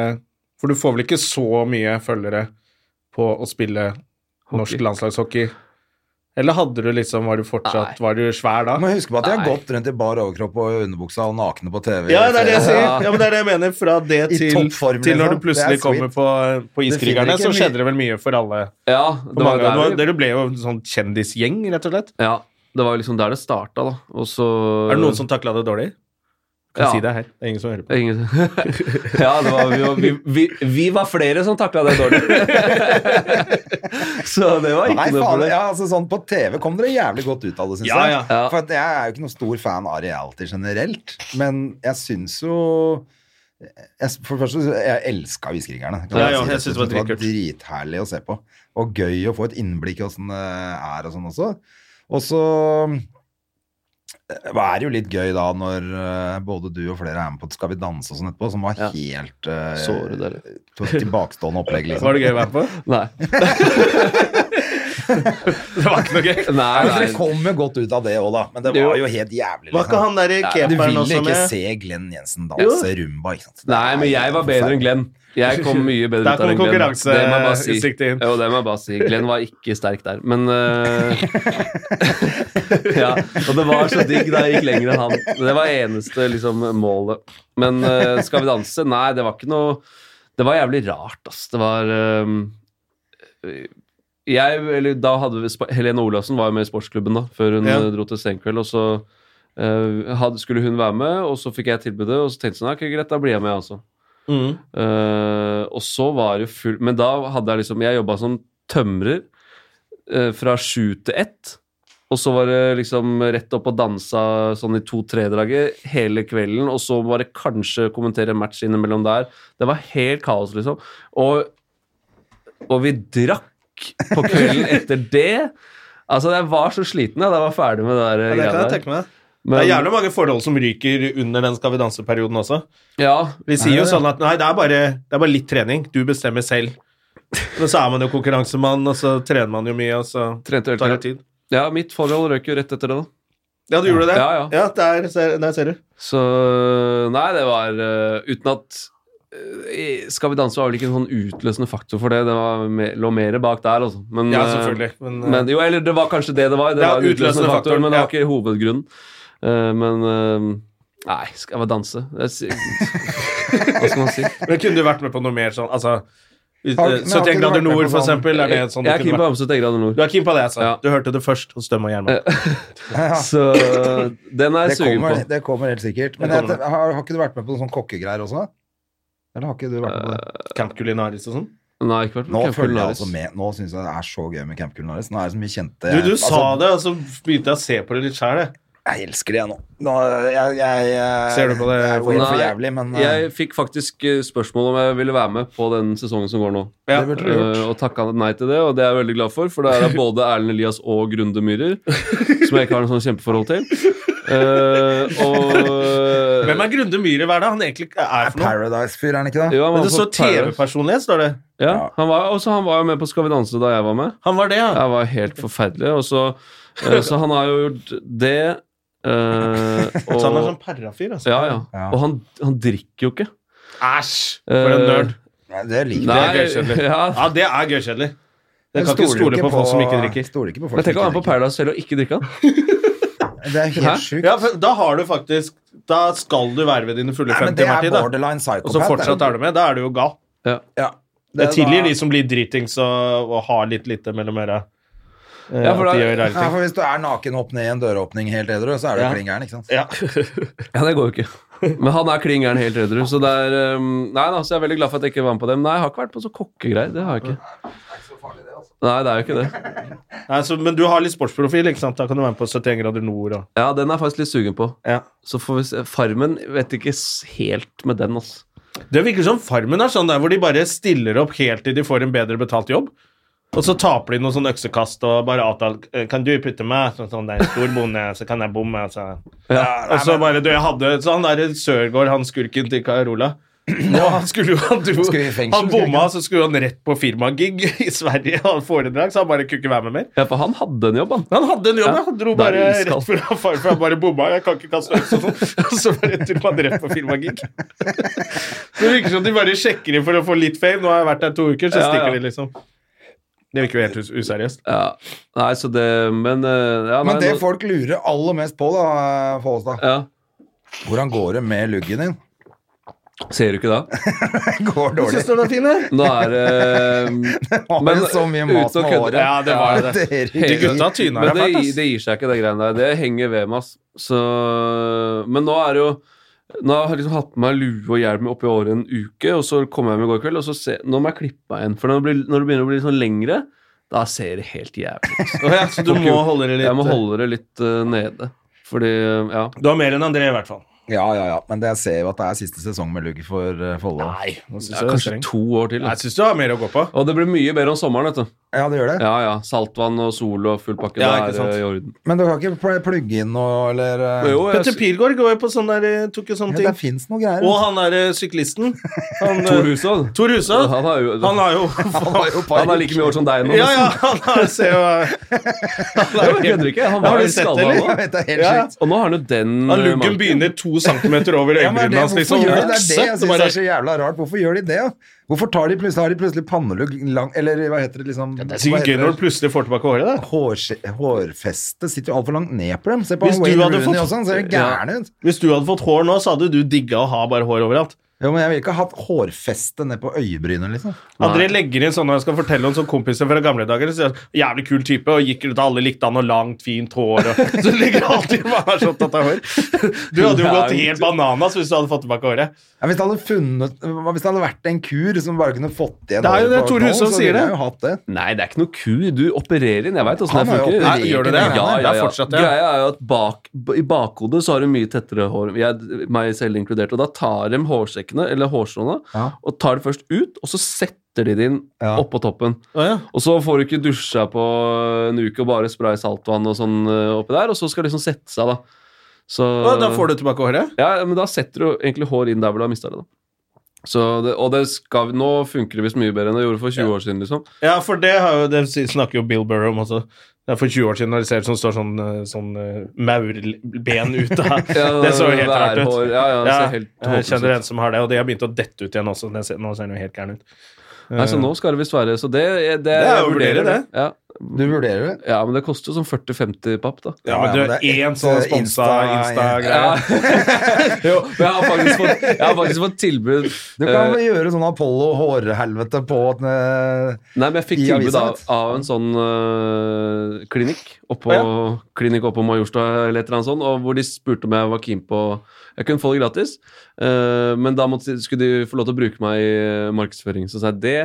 For du får vel ikke så mye følgere på å spille norsk
Hockey.
landslagshockey? Eller hadde du liksom Var du fortsatt Var du svær da?
Du må huske på at de har
Nei.
gått rundt i bar overkropp og underbuksa og nakne på TV.
Ja, det er det jeg sier.
Ja.
Ja, men det er det jeg mener. Fra det
I
til,
toppform,
til når
liksom.
du plutselig
Det er
kommer
sweet.
på, på
finner
Iskrigerne,
ikke
så
mye-
skjedde det vel mye for alle.
ja.
For
Det var,
mange, det var,
der,
dere ble jo en sånn kjendisgjeng, rett og slett.
ja, det var liksom der det starta, da. Og så <laughs>
Er det noen som takla det dårlig? Kan
Ja.
si det her. Det er ingen som hører
<laughs>
på.
Ingen... ja, det var, vi, var, vi, vi, vi var flere som takla det dårlig. <laughs> Så det var ikke
Nei,
noe
faen,
problem.
ja, altså sånn På TV kom dere jævlig godt ut av det, syns
Ja,
jeg.
ja.
Ja.
For at jeg er jo ikke noen stor fan av reality generelt, men jeg syns jo jeg, for det første, så- jeg elska Hviskerringerne. kan
Ja,
jeg
ja,
si.
jeg synes det var
Jeg synes
dritkult.
Dritherlig å se på. Og gøy å få et innblikk i åssen det er og sånn også. Og så eh, var det jo litt gøy da når eh, både du og flere er med på Skal vi danse og sånn etterpå, som var
Ja.
helt eh,
Såre dere.
to-
<laughs>
tilbakestående opplegg, liksom.
Var det gøy å være på?
Nei.
Det var ikke noe gøy.
Nei,
Men dere
nei.
kom jo godt ut av det òg, da. Men det
Jo.
var jo helt jævlig. liksom.
Var ikke han der
Du
keeperen
vil
også
ikke
med?
se Glenn Jensen danse rumba, ikke sant?
nei, men jeg var bedre
<laughs>
enn Glenn. Jeg kom mye bedre
Der
ut av det enn
kom
Glenn. Det må jeg bare si.
konkurranseusiktet inn.
Jo, det må jeg bare si. Glenn var ikke sterk der, men eh, <laughs> Ja, og det var så digg da jeg gikk lenger enn han. Det var eneste liksom, målet. Men eh, Skal vi danse? Nei, det var ikke noe Det var jævlig rart, ass. Det var eh, jeg, eller da hadde vi, spa- Helene Olaussen var jo med i sportsklubben da, før hun
Ja.
eh, dro til Senkveld. Og så eh, hadde, skulle hun være med, og så fikk jeg tilbudet, og så tenkte jeg sånn, «Ja, ok, greit, da blir jeg med, altså.
Mm.
Eh, og så var det jo full Men da hadde jeg liksom Jeg jobba som tømrer eh, fra sju til ett. Og så var det liksom rett opp og dansa sånn i to-tre-draget hele kvelden. Og så var det kanskje kommentere en match innimellom der. Det var helt kaos, liksom. Og, og vi drakk på kvelden etter
<laughs>
det. Altså, jeg var så sliten jeg, da jeg var ferdig med det der.
Ja,
eh,
det kan
greia
jeg
der.
tenke meg. Det
Men,
er jævlig mange forhold som ryker under den Skal vi danse-perioden også.
ja,
De sier jo sånn at nei, det er, bare, det er bare litt trening. Du bestemmer selv. Men så er man jo konkurransemann, og så trener man jo mye, og så
trente
tar det
øl.
tid.
Ja, mitt forhold røk jo rett etter det, da.
Ja, du gjorde det?
Ja, ja.
der, ser, der ser du.
Så Nei, det var eh, Uten at eh, Skal vi danse var vel ikke en sånn utløsende faktor for det. Det var me, lå mer bak der, altså. Men,
Ja,
eh,
selvfølgelig. Men, eh,
Men, jo, eller det var kanskje det det var. Det
Ja,
var en utløsende
utløsende
faktor,
faktor,
men det
ja.
var ikke hovedgrunnen. Eh, men eh, Nei, skal jeg bare danse? Jeg,
<laughs>
si- hva skal man si?
men kunne du vært med på noe mer sånn altså, ut-
Har-
eh,
men
71
har ikke du vært
grader
med
nord,
på
for
sånn-
eksempel? Er det sånn
jeg er
du
keen
kunne
på
vært?
Hamsun til Grader Nord.
Du er keen på det, altså.
Ja.
Du hørte det først hos Dømme og Gjerman.
<laughs> Så eh, den er
Det
jeg sugen på.
kommer, det kommer helt sikkert. Men
Det
jeg,
kommer.
har, har ikke du vært med på noen sånne kokkegreier også? Eller har ikke du vært med på det?
Camp Culinaris og sånn.
Nei, ikke vært
Nå
Camp
følger jeg
Culinaris.
altså med. Nå syns jeg det er så gøy med Camp Culinaris. Nå er det så mye kjente
Du, du
altså,
sa det, og så begynte jeg å se på det litt sjæl, jeg.
Jeg elsker det, jeg nå. nå jeg, jeg, jeg,
Ser du på det,
Jeg går
Nei,
for jævlig, men eh,
Jeg fikk faktisk eh, spørsmål om jeg ville være med på den sesongen som går nå.
Ja.
det burde du gjort.
Eh, og takka nei til det, og det er jeg veldig glad for, for det
<laughs>
er både Erlend Elias og Grunde Myhrer, som jeg ikke har noe sånn kjempeforhold til. Eh, og eh,
Hvem er Grunde Myhre? Hva er det han egentlig er for noe?
Paradise-fyr, er han ikke det?
Jo, han var
Men det
på
står
Paradise.
TV-personlighet, står det.
Ja, han var, også, han var jo med på Skal vi danse da jeg var med.
Han var det, ja.
Jeg var helt forferdelig. Og så, eh, så han har jo gjort det. eh, og,
Så han er sånn parafyr, altså.
ja, ja.
Ja.
og han, han drikker jo ikke.
Æsj! For en
Eh,
nerd.
Nei, det liker
Nei,
gøykjedelig.
ja,
Ja, det er gøykjedelig.
jeg.
Jeg kan ikke stole på folk som ikke drikker.
Stoler ikke på folk
Men tenk
som
å være med
ikke
på Paradise selv og ikke drikke han.
drikker. Det er
Hæ?
helt sjukt.
Ja, for da har du faktisk Da skal du være ved dine fulle
Nei, men
50,
det er
Martin. Da.
borderline psychopath.
Og så fortsatt
det.
er du med. Da er du jo gal.
Ja.
Jeg tilgir de
da-
som blir dritings og, og har litt lite mellom øra. Eh,
Ja, for
at de
da-
gjør rare
Ja,
ting.
for hvis du er naken opp ned i en døråpning helt edru, så er du
Ja.
klin gæren, ikke sant?
Ja.
Ja, det går jo ikke. Men han er klin gæren helt edru, så det er ehm, Nei da, så jeg er veldig glad for at jeg ikke var med på dem. Nei, jeg har ikke vært på så kokkegreier. Det har jeg ikke. Nei, det er jo ikke det.
Nei, så, men du har litt sportsprofil, ikke sant? Da kan du være med på 71 grader nord og
Ja, den er jeg faktisk litt sugen på.
ja.
Så får vi se. Farmen vet ikke s- helt med den, altså.
Det virker som Farmen er sånn der hvor de bare stiller opp helt til de får en bedre betalt jobb. Og så taper de noen sånn øksekast og bare avtaler eh, Kan du putte meg sånn, sånn der stor bonde, så kan jeg bomme? Så. og så bare du, jeg hadde Så han der Sørgaard, han skurken til
<clears throat>
Carola og han skulle jo, han, dro,
Skulle i fengsel,
han bomma, så skulle han rett på firmagig i Sverige og foredrag, så han bare kunne ikke være med mer.
Ja, for han hadde en jobb, han.
Han hadde en jobb,
Ja,
ja. han dro
da er
bare
det iskald.
rett fra far, for han bare bomma. Jeg kan ikke kaste øks og sånn. Og så bare dro han rett på firmagig. Så det virker som de bare sjekker inn for å få litt fame. Nå har jeg vært der to uker, så
Ja, ja.
stikker de, liksom. Det virker jo helt us- useriøst.
Ja. Nei, så det Men eh, ja, nei,
Men det
nå-
folk lurer aller mest på, da, Follestad
ja.
Hvordan går det med luggen din? <laughs>
Ser du ikke da?
Det går
<laughs>
dårlig.
Syns du den er fin, eller?
Nå er ehm,
<laughs>
det
Det var
Men
jo så mye mas
uten å
med
kødde-
håret.
Ja, det var det.
Det er-
De gutta tyna
Men
deg
det,
fælt, ass.
det gir seg ikke, det greiene der. Det henger ved meg, ass. Så, men nå er det jo Nå har jeg liksom hatt på meg lue og hjelm oppi året en uke, og så kom jeg hjem i går kveld, og så se, nå må jeg klippe meg igjen. For når det, blir, når det begynner å bli sånn lengre, da ser det helt jævlig ut.
Å ja, så du må holde det
Jeg må
litt
holde det litt eh, nede. Fordi, eh, ja
Du har mer enn André, i hvert fall.
Ja, ja, ja. Men det jeg ser jo at det er siste sesong med lugg for eh, Follo.
Nei, nå synes jeg
ja,
det er
Kanskje
streng.
to år til. da.
Jeg syns du har mer å gå på.
Og det blir mye bedre om sommeren, vet du.
Ja, det gjør det.
Ja, ja. Saltvann og sol og full pakke.
Ja,
det
ikke sant.
er eh, i orden.
Men du kan ikke pl- plugge inn noe, eller eh,
Jo,
Petter
jeg,
Pilgaard går jo på sånn der, eh, tok jo sånne
ja, Det
ting.
fins noe greier. altså.
Og han derre syklisten. Han,
Tor
eh,
Hushovd.
Tor Huse.
Han har jo
Han har jo
<laughs> Han har like mye år som deg nå.
Ja, ja, <laughs> han har ser jo
Jeg kødder ikke. Han
Har
var
du
jo
sett det,
skalla
eller?
<laughs>
nå.
Jeg vet, det er helt
Ja, ja.
sjukt.
Og nå har han jo den
Han
eh,
Luggen
marken.
begynner to centimeter over
Ja, men
øyebrynene
det,
hans.
hvorfor
Liksom.
gjør de det? Det er det jeg
Vokset,
synes
bare-
er så jævla rart. Hvorfor gjør de det? Ja? Hvorfor tar de plutselig, har de plutselig pannelugg lang Eller hva heter det liksom
Det er sikkert gøy når du plutselig får tilbake håret. da.
Hårse- Hårfestet sitter jo altfor langt ned på dem. Se på
Hvis
han
du
Wayne
hadde
Rooney
fått-
også, han ser jo gæren ut.
Hvis du hadde fått hår nå, så hadde du digga å ha bare hår overalt.
Jo, men jeg ville ikke hatt hårfeste ned på øyebrynet, liksom.
André legger inn sånn når jeg skal fortelle om sånne kompiser fra gamle dager. Så sier han, jævlig kul type, og gikk rundt og alle likte han, og langt, fint hår. Og, <laughs> så legger han alltid bare er så opptatt av hår. Du hadde jo gått helt bananas hvis du hadde fått tilbake håret.
Ja, hvis det hadde funnet Hva hvis det hadde vært en kur som bare kunne fått igjen
Det er jo
håret
det
på
Tor
knollen,
Hushovd
så
sier
ville
det.
jeg jo hatt det.
Nei, det er ikke noe kur. Du opererer inn. Jeg veit åssen det
Han har jo
funker.
operert Nei, gjør du det?
Ja,
Nei,
ja,
det er
ja.
fortsatt, ja.
Greia er jo at bak, b- i bakhodet så har du mye tettere hår, jeg, meg selv inkludert. Og da tar de hårsekkene, eller hårstråene,
Ja.
og tar det først ut, og så setter de det inn
Ja.
oppå toppen. Og så får du ikke dusja på en uke og bare spray saltvann og sånn eh, oppi der, og så skal det liksom sette seg, da. Så
Og da får du tilbake håret.
ja, men da setter du egentlig hår inn der hvor du har mista det. da. Så det, og det skal, nå funker det visst mye bedre enn det gjorde for 20 år siden. liksom.
Ja, for det, har jo, det snakker jo Bill Burrow om også. Det er for 20 år siden når de ser ut som står sånn, eh, sånn eh, maurben
<laughs>
ut av <laughs> Det så jo helt rart ut.
værhår, Ja, ja, det
Ja,
ser helt
jeg
håpløst
kjenner en
ut.
som har det, og de har begynt å dette ut igjen også. Det ser- Nå ser den jo helt gæren ut.
Nei, så nå skal det visst være Så det, det,
er å
jeg
vurdere, det.
Ja.
Du vurderer det?
ja, men det koster jo sånn 40-50 papp, da.
Ja, men
Ja,
du har
ja, men det er
én
et,
sånn
eh,
sponsa
Insta-
Insta-greie.
Ja. <laughs> jo, men jeg har faktisk fått, jeg har faktisk fått tilbud eh,
Du
Eh.
kan vel gjøre sånn Apollo-hårhelvete på at, eh,
Nei, men jeg fikk
I
tilbud
avisa,
av,
vet du.
av en sånn øh, klinikk oppå, klinikk oppå Majorstua eller et eller annet sånt, og hvor de spurte om jeg var keen på Jeg kunne få det gratis, øh, men da måtte, skulle de få lov til å bruke meg i øh, markedsføring. Så sa jeg det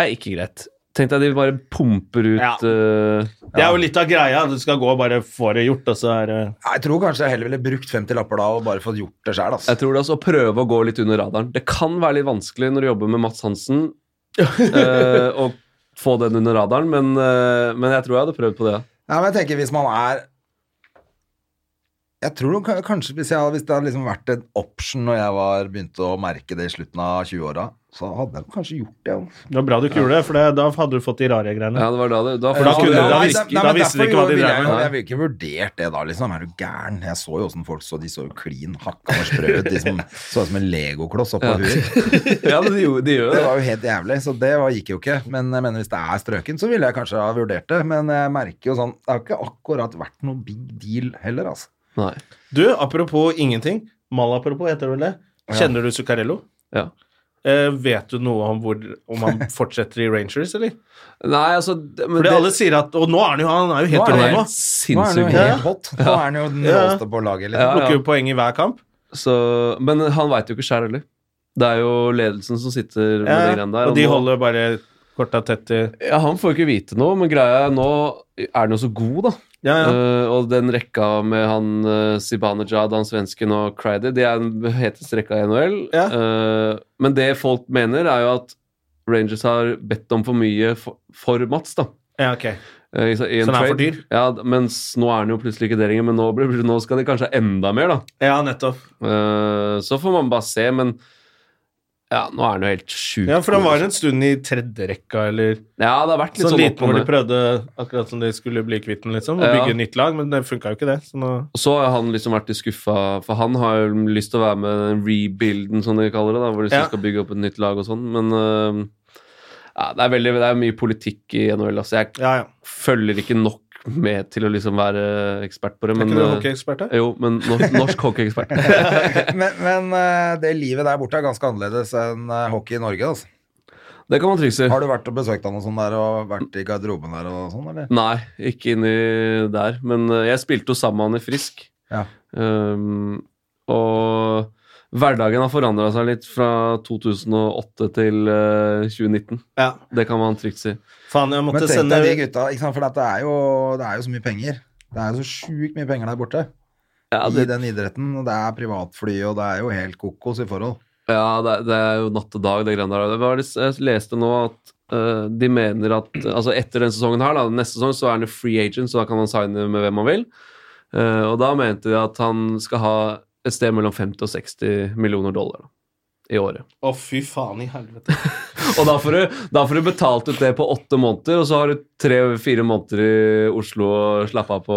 er ikke greit. Tenkte jeg de bare pumper ut
Ja.
øh,
Det er jo litt av greia. Du skal gå og bare få det gjort, og så er det
Jeg tror kanskje jeg heller ville brukt 50 lapper da og bare fått gjort det sjøl, altså.
Jeg tror det altså å prøve å gå litt under radaren. Det kan være litt vanskelig når du jobber med Mats Hansen øh, å få den under radaren, men, øh, men jeg tror jeg hadde prøvd på det.
Nei, men jeg tenker hvis man er Jeg tror nok ka- kanskje hvis, jeg, hvis det hadde liksom vært en option når jeg var begynte å merke det i slutten av 20-åra, så hadde jeg kanskje gjort det. altså.
Det var bra du ikke gjorde det, for det, da hadde du fått de rare greiene.
Ja, det var da det, da,
For da
Ja,
kunne-
det-
da
Nei,
visste-
nei,
da
men
visste de
derfor
ikke hva de
ville
drev
med.
Jeg jeg ville ikke vurdert det da, liksom. Er du gæren? Jeg så jo åssen folk så De så jo klin hakka og sprø ut. De som så ut som en legokloss oppå huet.
<laughs> Ja, men de, gjorde- de gjør jo
Det
det.
var jo helt jævlig, så det var, gikk jo ikke. Men jeg mener, hvis det er strøken, så ville jeg kanskje ha vurdert det. Men jeg merker jo sånn Det har ikke akkurat vært noe big deal heller, altså.
Nei.
Du, apropos ingenting. Malapropos, heter det vel det? Kjenner du Zuccarello?
Ja.
Eh, vet du noe om hvor, om han fortsetter i Rangers, eller?
Nei, altså det- men
Fordi
det-
alle sier at Og nå er han jo, han er jo helt
Nå
rå
er han
det er
nå.
helt
Nå er han jo
sinnssykt.
helt hot. Nå er han jo den
Ja.
råeste på laget. Liksom.
Ja, ja.
Plukker jo poeng i hver kamp.
Så, men han veit jo ikke sjøl heller. Det er jo ledelsen som sitter med de
Ja,
greiene der.
Eh, og de
nå-
holder bare korta tett til
ja, Han får jo ikke vite noe, men greia er nå er han jo så god, da.
Ja, ja.
Eh, og den rekka med han uh, Sibanejad, han svensken og Crider, det er den heteste rekka i NHL.
Ja.
Eh, men det folk mener, er jo at Rangers har bedt om for mye for, for Mats, da.
ja, ok.
Eh, i- i en
Så den er for
trade.
dyr?
Ja, d- mens nå er han jo plutselig ikke det lenger, men nå, blir, nå skal de kanskje ha enda mer, da.
Ja, nettopp.
Eh, Så får man bare se, men ja, nå er han jo helt sjuk.
Ja, for han var en stund i tredjerekka, eller
Ja, det har vært litt
sånn
sånn,
liten
opp
hvor
og
de
ned.
prøvde akkurat som de skulle bli kvitt den, liksom, og
Ja.
bygge nytt lag, men det funka jo ikke, det. Så nå
Og så har han liksom vært i skuffa, for han har jo lyst til å være med i den rebuilden, som de kaller det, da, hvor de liksom
Ja.
skal bygge opp et nytt lag og sånn, men eh, ja, det, er veldig, det er mye politikk i NHL. Altså. Jeg
Ja, ja.
følger ikke nok med til å liksom være ekspert på det,
Er
men
ikke du
eh,
hockeyekspert, da?
jo, men norsk,
<laughs>
norsk
<laughs>
hockeyekspert.
Men, men eh, det livet der borte er ganske annerledes enn eh, hockey i Norge. Altså.
Det kan man trikse.
Har du vært og besøkt han og sånn der, og vært i garderoben der og sånn, eller?
Nei, ikke inni der. Men eh, jeg spilte jo sammen med han i Frisk.
Ja.
Um, og Hverdagen har forandra seg litt fra 2008 til eh, 2019.
Ja.
Det kan man trygt si.
Faen, jeg
Men
måtte
tenk
sende
deg de gutta, ikke sant? for det er, jo, det er jo så mye penger. Det er jo så sjukt mye penger der borte
Ja,
i
det,
den idretten. og Det er privatfly, og det er jo helt kokos i forhold.
ja, det, er- det er jo natt og dag, det greiene der. Det var, jeg leste nå at eh, de mener at altså etter den sesongen her, da, neste sesong, så er han jo free agent, så da kan han signe med hvem han vil. Eh, og da mente de at han skal ha et sted mellom 50 og 60 millioner dollar da, i året.
Å, fy faen i helvete.
Og da får, du, da får du betalt ut det på åtte måneder, og så har du tre-fire måneder i Oslo og slappe av på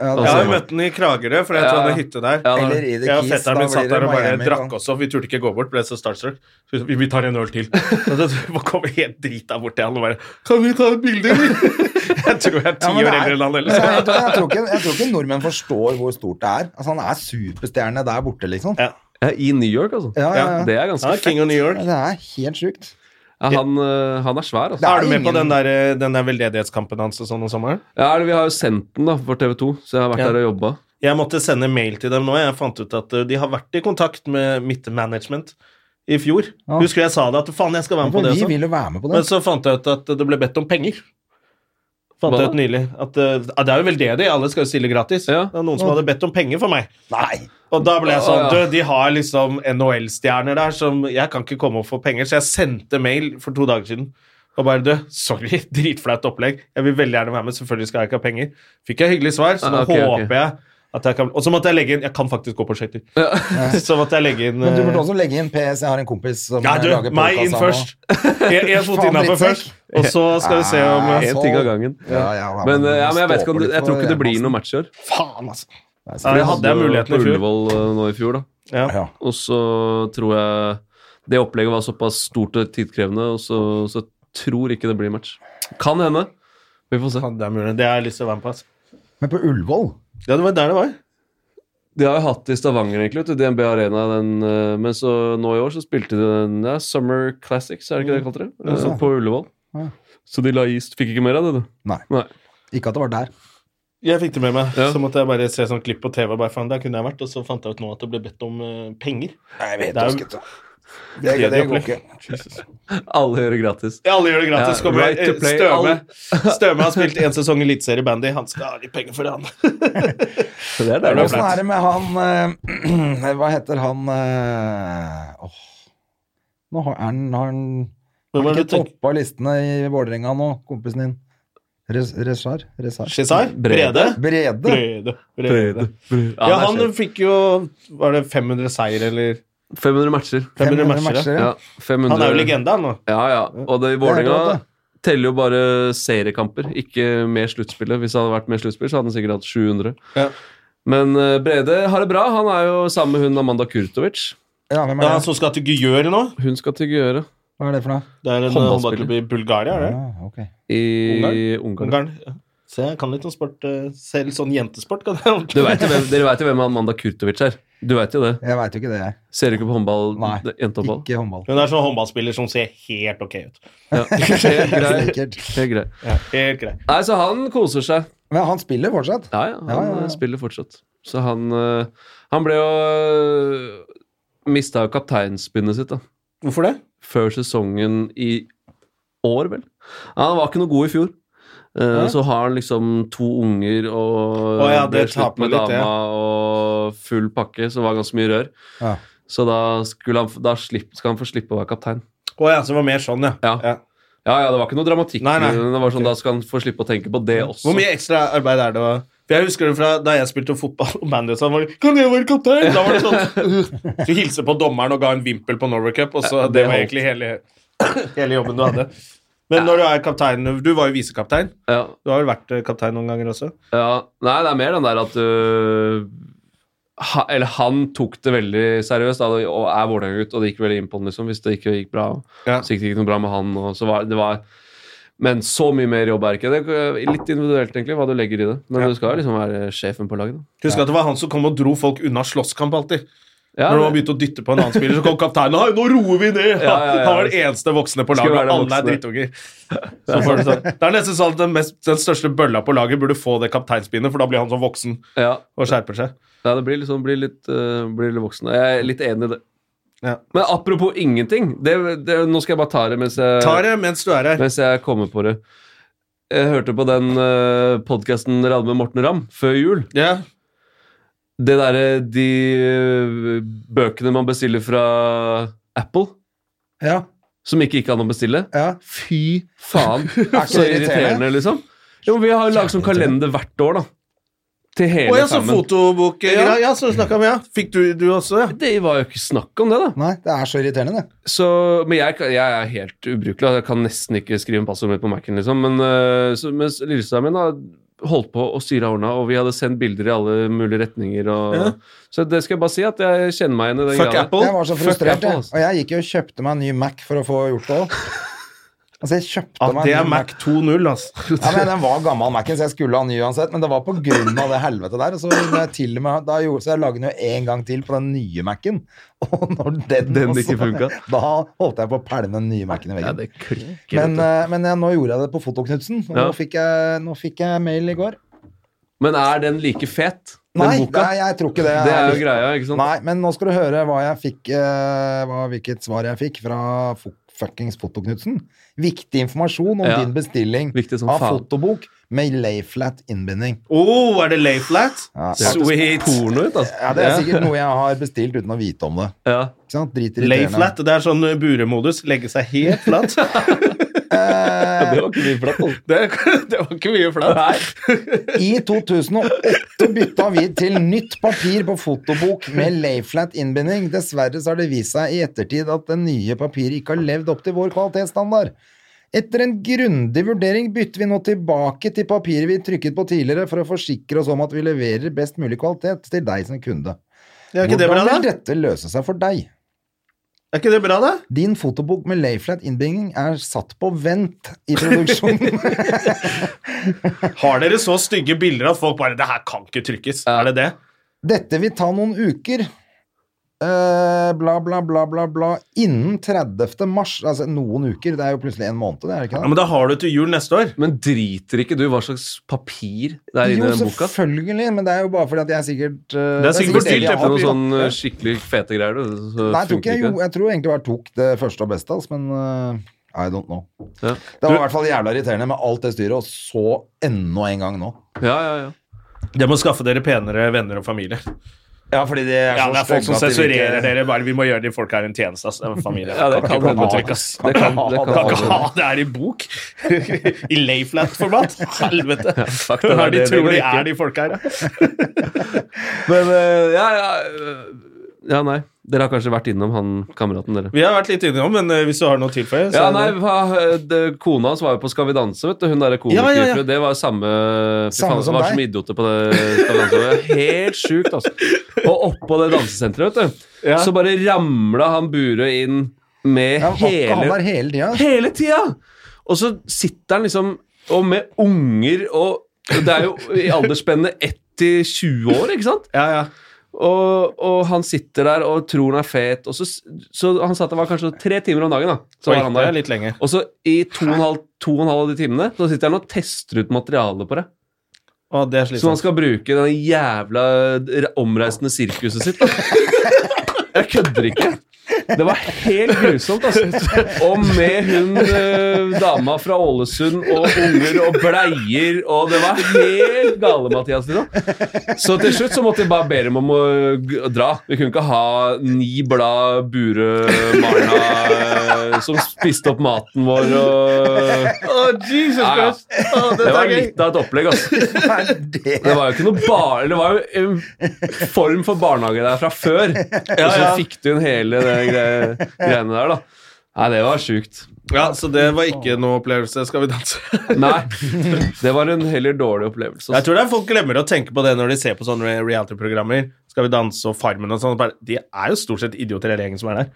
Jeg
Ja, det
Altså,
har jo møtt den i Kragerø, for jeg tror
Ja.
han har hytte der.
Ja, da-
Eller i The
Jeg og
Keys, da
fetteren min satt
blir det
der og bare
Miami.
drakk
da.
også. Vi turte ikke gå bort, ble så starstruck. Så Vi, vi tar en øl <laughs> til. Så det vi kom helt drita bort til han og bare Kan vi ta et bilde? <laughs> Jeg tror jeg er ti
Ja,
år
men det er-
eldre enn han
Men Jeg, jeg,
ellers.
tror ikke, jeg tror ikke nordmenn forstår hvor stort det er. Altså, han er superstjerne der borte, liksom.
Ja.
ja, I New York, altså.
Ja, ja, ja.
Det er ganske
Ja, King of New York.
Det er helt sjukt.
ja, han, eh, han er svær, altså.
Det
Er du med på den
ingen-
der, eh, den der veldedighetskampen hans og sånn om sommeren?
Ja, eller vi har jo sendt den da, for TV 2, så jeg har vært
Ja.
der og jobba.
Jeg måtte sende mail til dem nå. Jeg fant ut at eh, de har vært i kontakt med mitt management i fjor.
Ja.
Husker jeg sa det, at faen, jeg skal være med på
For
det
vi
også.
vil jo være med på det.
Men så fant jeg ut at det ble bedt om penger. Fant
Hva
jeg
da?
ut nylig. At, eh, ja, det er jo veldedig, alle skal jo stille gratis.
Ja.
Det var noen som hadde bedt om penger for meg.
Nei!
Og da ble jeg
Å,
sånn,
ja.
du, de har liksom NHL-stjerner der som Jeg kan ikke komme og få penger, så jeg sendte mail for to dager siden. Og bare, du, sorry, <laughs> dritflaut opplegg. Jeg vil veldig gjerne være med, selvfølgelig skal jeg ikke ha penger. Fikk jeg hyggelig svar, så nå
Ah, ok, ok.
håper jeg at jeg kan Og så måtte jeg legge inn Jeg kan faktisk gå på skøyter. <laughs> Så måtte jeg legge inn
Men du burde
eh,
også legge inn PS. Jeg har en kompis som
Ja, du,
lager
meg inn
podcast sammen.
først. <laughs> En en fot
Faen,
innafor
drittsekk.
først, og så skal vi se om
Ah,
eh,
Én
så-
ting av gangen.
Ja, ja, ja,
Men, eh, ja, men jeg vet
stå
ikke om
på
det,
litt
jeg tror
for sånn.
ikke det blir
Gjermansen.
noen matcher.
Faen, altså. Nei,
Ja, jeg hadde jeg
jo
muligheten i
på
fjor.
Ullevål eh, nå i fjor, da.
ja.
Ja.
Og så tror jeg det opplegget var såpass stort og tidkrevende, og så, så tror ikke det blir match. Kan hende. Vi får se.
Faen, Det er mulig. Det har jeg lyst til å være med på. Altså.
Men på Ullevål
Ja, det var der det var.
De har jo hatt det i Stavanger, egentlig, vet du, DNB Arena. Den, eh, men så nå i år så spilte de den ja, Summer Classics, er det ikke det de kalte det? Eh, På Ullevål.
Ja.
Så de la is Fikk ikke mer av det, du.
Nei.
Nei.
Ikke at det var der.
Jeg fikk det med meg.
Ja.
Så måtte jeg bare se sånn klipp på TV. og Bare, faen, der kunne jeg vært, Og så fant jeg ut nå at det ble bedt om eh, penger.
Jeg vet
Det er jo-
ikke, det, det, det går ikke.
Alle gjør det gratis.
Ja, alle gjør det gratis.
Ja,
Kommer
right to
eh,
play,
Støme.
<laughs>
Støme har spilt én sesong i Eliteserie Bandy. Han skal ha litt penger for det, han.
Så det
Det
er
er
deilig.
Åssen er det med han eh, <clears throat> Hva heter han eh, åh. Nå har han, har han
Hvem er
har ikke
det du tenker?
toppa listene i Vålerenga nå, kompisen din. Res- Resar? Resar.
Shizar?
Brede.
Brede?
Brede.
Brede. Brede.
Ja,
Ja,
han
han
er sjef.
fikk jo Var det 500 seier, eller
500 matcher.
500
500
matcher?
matcher,
ja.
Ja, 500.
Han er jo legende, han nå.
Ja, ja. Og det,
Det
i
er
Vålerenga
rått,
teller jo bare seriekamper, ikke mer sluttspillet. Hvis det hadde vært mer sluttspill, så hadde han sikkert hatt 700.
Ja.
Men eh, Brede har det bra. Han er jo sammen med hun Amanda Kurtovic.
Ja, hvem
Det
er
er han
det?
som skal til Gyør nå.
Hun skal til Gjøre
Hva er det for noe?
Det er en eh,
Håndballspiller.
håndballklubb i Bulgaria, er det?
Ah, ok.
i Ungarn.
Ungarn. Ja. Så jeg kan litt om sport. eh, Selv sånn jentesport kan jeg
Du
<laughs>
vet jo hvem, dere veit jo hvem Amanda Kurtovic er? Du vet jo det.
Jeg veit jo ikke det, jeg.
Ser du ikke på håndball?
Nei,
det- Jentehåndball?
Ikke håndball.
Hun er sånn håndballspiller som ser helt ok ut.
<laughs>
Ja. Helt grei.
Sikkert.
Helt grei.
Helt grei.
Nei, så han koser seg.
Men han spiller fortsatt.
Ja, ja, han
Ja, ja, ja.
eh, spiller fortsatt. Så han eh, Han ble jo Mista jo kapteinspinnet sitt, da.
Hvorfor det?
Før sesongen i år, vel. Ja, han var ikke noe god i fjor. Eh, Så har han liksom to unger og
Å ja,
ble
det
slutt
taper
med
litt,
dama og full pakke, så det var ganske mye rør.
Ja.
Så da, skulle han, da slipp, skal han få slippe å være kaptein.
Å ja, så det var mer sånn, ja.
Ja. Ja, ja, det var ikke noe dramatikk.
Nei, nei.
Det var sånn, Da skal han få slippe å tenke på det også.
Hvor mye ekstra arbeid er det å For Jeg husker det fra da jeg spilte fotball og bandy. Så var det, kan jeg være kaptein? Da var det sånn Du hilste på dommeren og ga en vimpel på Norway Cup, og så
Ja, det
det var
holdt.
egentlig hele, hele jobben du hadde. Men når du er kaptein Du var jo visekaptein.
Ja,
Du har vel vært eh, kaptein noen ganger også?
ja. Nei, det er mer den der at øh, ha, Eller han tok det veldig seriøst da, og er Vålerenga-gutt, og det gikk veldig inn på han, liksom, hvis det ikke gikk bra.
Ja.
Så gikk det ikke noe bra med han. Og så var, det var, men så mye mer jobb er ikke. Det er litt individuelt, egentlig, hva du legger i det. Men du skal jo liksom være sjefen på laget. da.
Husk at det var han som kom og dro folk unna slåsskamp alltid.
Ja,
Når
det-
du har begynt å dytte på en annen spiller, så kom kapteinen Hei, nå roer vi ned!
Ja, ja, ja.
Han var den eneste voksne på
Skulle
laget,
være
og
den
alle er
voksne. <laughs>
drittunger. Så får du sånn. Det er nesten sånn at den, mest, den største bølla på laget burde få det kapteinspinnet, for da blir han sånn voksen
Ja.
og skjerper seg.
Ja, det blir liksom, blir litt, eh, blir litt voksen. Jeg er litt enig i det.
Ja.
Men apropos ingenting det, det, Nå skal jeg bare ta det mens jeg,
Ta det mens du er her.
mens jeg kommer på det. Jeg hørte på den uh, podkasten dere hadde med Morten Ramm før jul.
Ja.
Det derre De eh, bøkene man bestiller fra Apple,
Ja,
som ikke gikk an å bestille.
ja.
Fy <laughs> faen, så
irriterende.
irriterende, liksom. Jo, vi har laget sånn kalender hvert år, da. Til hele
Å ja, så
sammen.
fotobok Ja, ja, så snakka vi, ja. Fikk du, du også, ja?
Det var jo ikke snakk om det, da.
Nei, det er så irriterende, det.
Så, men jeg, kan- jeg er helt ubrukelig. Jeg kan nesten ikke skrive en passord mer på Mac-en. Liksom. Men øh, så, mens lillesøsteren min har holdt på å styre årene, og vi hadde sendt bilder i alle mulige retninger. Og,
Ja.
Så det skal jeg bare si, at jeg kjenner meg igjen i den
Fuck
greia. der.
Apple.
Jeg var så
Fuck
frustrert,
Apple,
jeg.
altså.
Og jeg gikk jo og kjøpte meg en ny Mac for å få gjort det òg. Altså, jeg kjøpte
Ja,
meg
det
en
er
ny
Mac 2.0,
<laughs>
altså.
Ja, men Den var gammel Mac-en, så jeg skulle ha ny uansett. Men det var på grunn av det helvete der. og Så, når jeg til og med, da gjorde, så jeg lagde den jo en gang til på den nye Mac-en. <laughs> Og når den,
Den ikke funka.
Da holdt jeg på å pælme den nye Mac-en i
Ja,
veggen.
det klikker.
men
vet du.
eh, men jeg, nå gjorde jeg det på Fotoknutsen. og Nå,
Ja.
fikk jeg- nå fikk jeg mail i går.
men er den like fet, den
Nei,
boka?
nei, jeg tror ikke det.
det er jo greia, ikke sant?
Nei, men nå skal du høre hva jeg fikk, eh, hva, hvilket svar jeg fikk fra fo- fuckings Fotoknutsen. Viktig informasjon om
Ja.
din bestilling
Viktig som
av
faen.
fotobok med layflat innbinding.
Å, Oh, er det Layflat?
Ja.
Sweet.
Porno ut, altså.
Ja, Det er sikkert noe jeg har bestilt uten å vite om det.
Ja.
Ikke sant? Drit irriterende.
Layflat, det er sånn eh, buremodus. Legge seg helt
<laughs>
flat.
Det var ikke mye flatt. altså.
Det, det <laughs> var ikke mye flaut.
I 2008 bytta vi til nytt papir på fotobok med layflat innbinding. Dessverre så har det vist seg i ettertid at det nye papiret ikke har levd opp til vår kvalitetsstandard. Etter en grundig vurdering bytter vi nå tilbake til papiret vi trykket på tidligere, for å forsikre oss om at vi leverer best mulig kvalitet til deg som kunde.
Er ikke det bra,
Hvordan
da?
vil dette løse seg for deg?
Er ikke det bra, da?
Din fotobok med layflat innbinding er satt på vent i produksjonen.
Har dere så stygge bilder at folk bare Det her kan ikke trykkes.
Ja.
Er det det?
Dette vil ta noen uker. Eh, bla, bla, bla, bla, bla. Innen 30. mars. Altså noen uker. Det er jo plutselig en måned, det er det ikke
Ja,
det?
Men da har du til jul neste år.
Men driter ikke du hva slags papir det er inni
jo,
den boka?
selvfølgelig, men det er jo bare fordi at jeg sikkert eh,
Det er sikkert
Du
dyrt,
jeg
det
kjøpte
har.
noen
papir.
sånn eh, skikkelig fete greier, du. Så
Nei, jeg tror,
funker
ikke, jeg,
ikke.
jo, jeg tror egentlig bare tok det første og beste, altså, men eh, I don't know.
Ja.
Det var i hvert fall jævla irriterende med alt det styret, og så enda en gang nå.
Ja, ja, ja.
Det må skaffe dere penere venner og familie.
Ja, fordi det er,
Ja, det er folk som sensurerer dere. Bare vi må gjøre de folka her en tjeneste, ass. Det er familie.
Ja, det kan
ikke
hende.
trykke, ass.
Det kan- det kan
Kan ikke
hende.
ha det her i bok! <laughs> I layflat-format! Helvete!
fuck, det er
Hva er de
det
tror
dere
de
liker.
er, de folka her? da?
Men eh, ja, ja, eh, ja, nei. Dere har kanskje vært innom han kameraten, dere.
Vi har vært litt innom, men eh, hvis du har noe å tilføye så
Ja,
er
nei,
det-
hva, det, Kona hans var jo på Skal vi danse, vet du. Hun derre
Ja, ja, ja.
komikerfrue. Det var samme Fy
Samme
faen, det
som
var
deg.
som idioter på det Skal vi danse. Det var Helt sjukt, altså. Og oppå det dansesenteret, vet du,
Ja.
så bare ramla han Burøe inn med
Ja, han
hele
der hele tida.
<laughs>
Hele tida! Og så sitter han liksom Og med unger og Det er jo i aldersspennet 1 til 20 år, ikke sant?
ja, ja.
Og, og han sitter der og tror han er fet. Og så, så han satt der var kanskje tre timer om dagen. da Så
Oi,
var han
det er
der
litt lenge.
Og så i to og en halv, to og en halv av de timene Så sitter han og tester ut materialet på det.
Å, det er
Som han
slitsomt.
skal bruke i det jævla r- omreisende sirkuset sitt. da.
<laughs>
Jeg kødder ikke. Det var helt grusomt, altså. Og med hun eh, dama fra Ålesund og unger og bleier og Det var helt gale, Mathias. Liksom. Så til slutt så måtte jeg bare be dem om å g- å dra. Vi kunne ikke ha ni blad Bure-Marna eh, som spiste opp maten vår og
Å, Jesus
Ja, ja.
Christ! Å,
Det
dette
var
er gøy!
litt av et opplegg, altså.
Hva er det?
Det var jo ikke noe bar, det var jo en form for barnehage der fra før. Og så
ja.
fikk du inn hele det gre greiene der, da. Nei, det var sjukt.
Ja, Så det var ikke noe opplevelse. Skal vi danse?
Nei, det var en heller dårlig
Jeg
opplevelse. altså.
tror det er folk glemmer å tenke på det når de ser på sånne re- reality-programmer. Skal vi danse og Farmen og sånn. bare- De er jo stort sett idioter, hele gjengen som er der.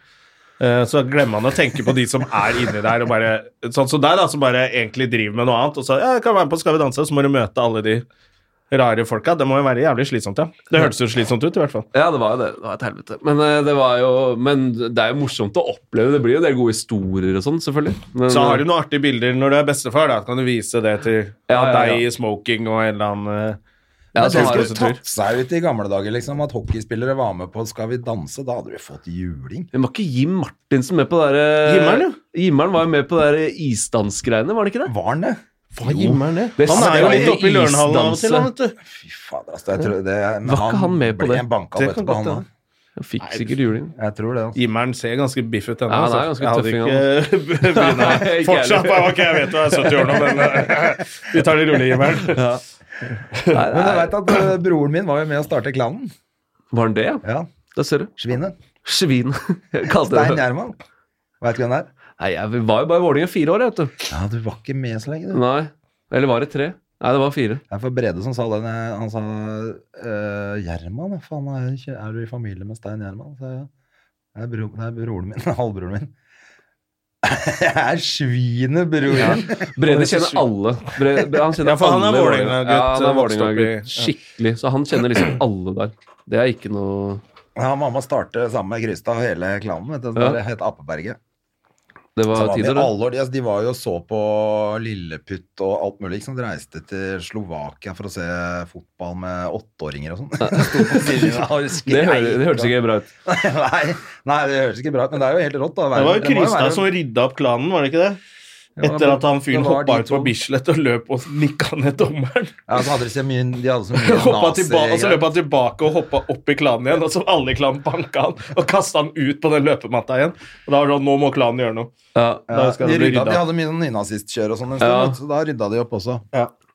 Eh, Så glemmer man å tenke på de som er inni der, og bare, sånn som deg, da, som bare egentlig driver med noe annet. Og så ja, jeg kan være med på Skal vi danse, så må du møte alle de rare folka. Det må jo være jævlig slitsomt, ja. Det hørtes jo slitsomt ut, i hvert fall.
Ja, det var jo det. Det var et helvete. Men, eh, det var jo, men det er jo morsomt å oppleve. Det blir jo en del gode historier og sånn, selvfølgelig. Men,
Så har du noen artige bilder når du er bestefar, da kan du vise det til
Ja, ja, ja.
deg i smoking og en eller annen eh,
ja,
Men
så
det
Altså, har
skulle
du-
tatt-
Tatt seg ut i gamle dager, liksom. At hockeyspillere var med på 'Skal vi danse', da hadde du fått juling.
Men var ikke Jim Martinsen med på det der
Jimmeren, ja.
Jimmeren var jo med på det der eh, isdansgreiene, var det ikke det?
Var han det?
Det
Han er jo
var
litt
jo
oppe i Lørenhallen av og til, han,
isdanse.
vet du.
Fy fader, altså. Jeg tror det, men
Var ikke han med på
ble
det?
Det
banka opp
kan
etterpå,
godt
han da.
hende.
Jeg fikk sikkert juling.
Jeg tror det. altså.
Jimmeren ser ganske biff ut ennå.
Ja, han er
altså.
ganske tøffing,
Jeg <laughs> hadde ikke
<laughs>
Nei,
begynner.
ikke
Fortsatt
heller.
bare, ok, jeg vet du er 70 år nå, men eh, vi tar det rolig, Jimmeren.
Men jeg veit at eh, broren min var jo med å starte klanen.
Var han det, ja?
Ja,
Da ser du.
Svinet.
Svin. <laughs> Jeg kalte
Stein
det.
Gjerman. Veit du hvem det er?
Nei, jeg var jo bare i Vålerenga i fire år, jeg, vet du.
Ja, du var ikke med så lenge, du.
Nei. Eller var det tre? Nei, det var fire.
Det er for Brede som sa det. Han sa eh, Gjerman, ja, faen, er, ikke, er du i familie med Stein Gjerman? Så jeg, det, er bro, det er broren min. <laughs> Halvbroren min. jeg er svinet, bror min!
Brede kjenner alle. Bre- Bre- han kjenner
Ja, for han er
alle
Vålerenga-gutt,
Ja, han
vokst opp
er
i-
Vålerenga-gutt. Skikkelig. Så han kjenner liksom alle der. Det er ikke noe
Ja, mamma startet sammen med Krystad og hele klanen. Vet du,
Ja.
Det het Appeberget.
Det
Så
var
var de,
tider, da.
alle, år, de, altså, de var jo og så på Lilleputt og alt mulig. Liksom, de reiste til Slovakia for å se fotball med åtteåringer og sånn. <laughs> Sto på sidelinja og
<laughs> Det, hører,
skreik
det hørtes ikke bra ut.
nei, nei, det høres ikke bra ut, men det er jo helt rått. Da.
Det var jo
må være-
Kristad som rydda opp klanen, var det ikke det?
Ja,
Etter at han fyren
det var de
hoppa ut på
to.
Bislett og løp og nikka ned
<laughs>
dommeren.
Ja, så hadde de så mye De hadde så mye
<laughs> Hoppa
nazi-
tilba- og så løp han tilbake og hoppa opp i klanen igjen, og så alle i klanen banka han og kasta han ut på den løpematta igjen. Og da var det sånn, nå må klanen gjøre noe.
Ja.
Da
Ja,
skal
de,
det bli
rydda, de
rydda.
hadde mye nynazistkjør og sånn en
Ja.
stund, så da rydda de opp også.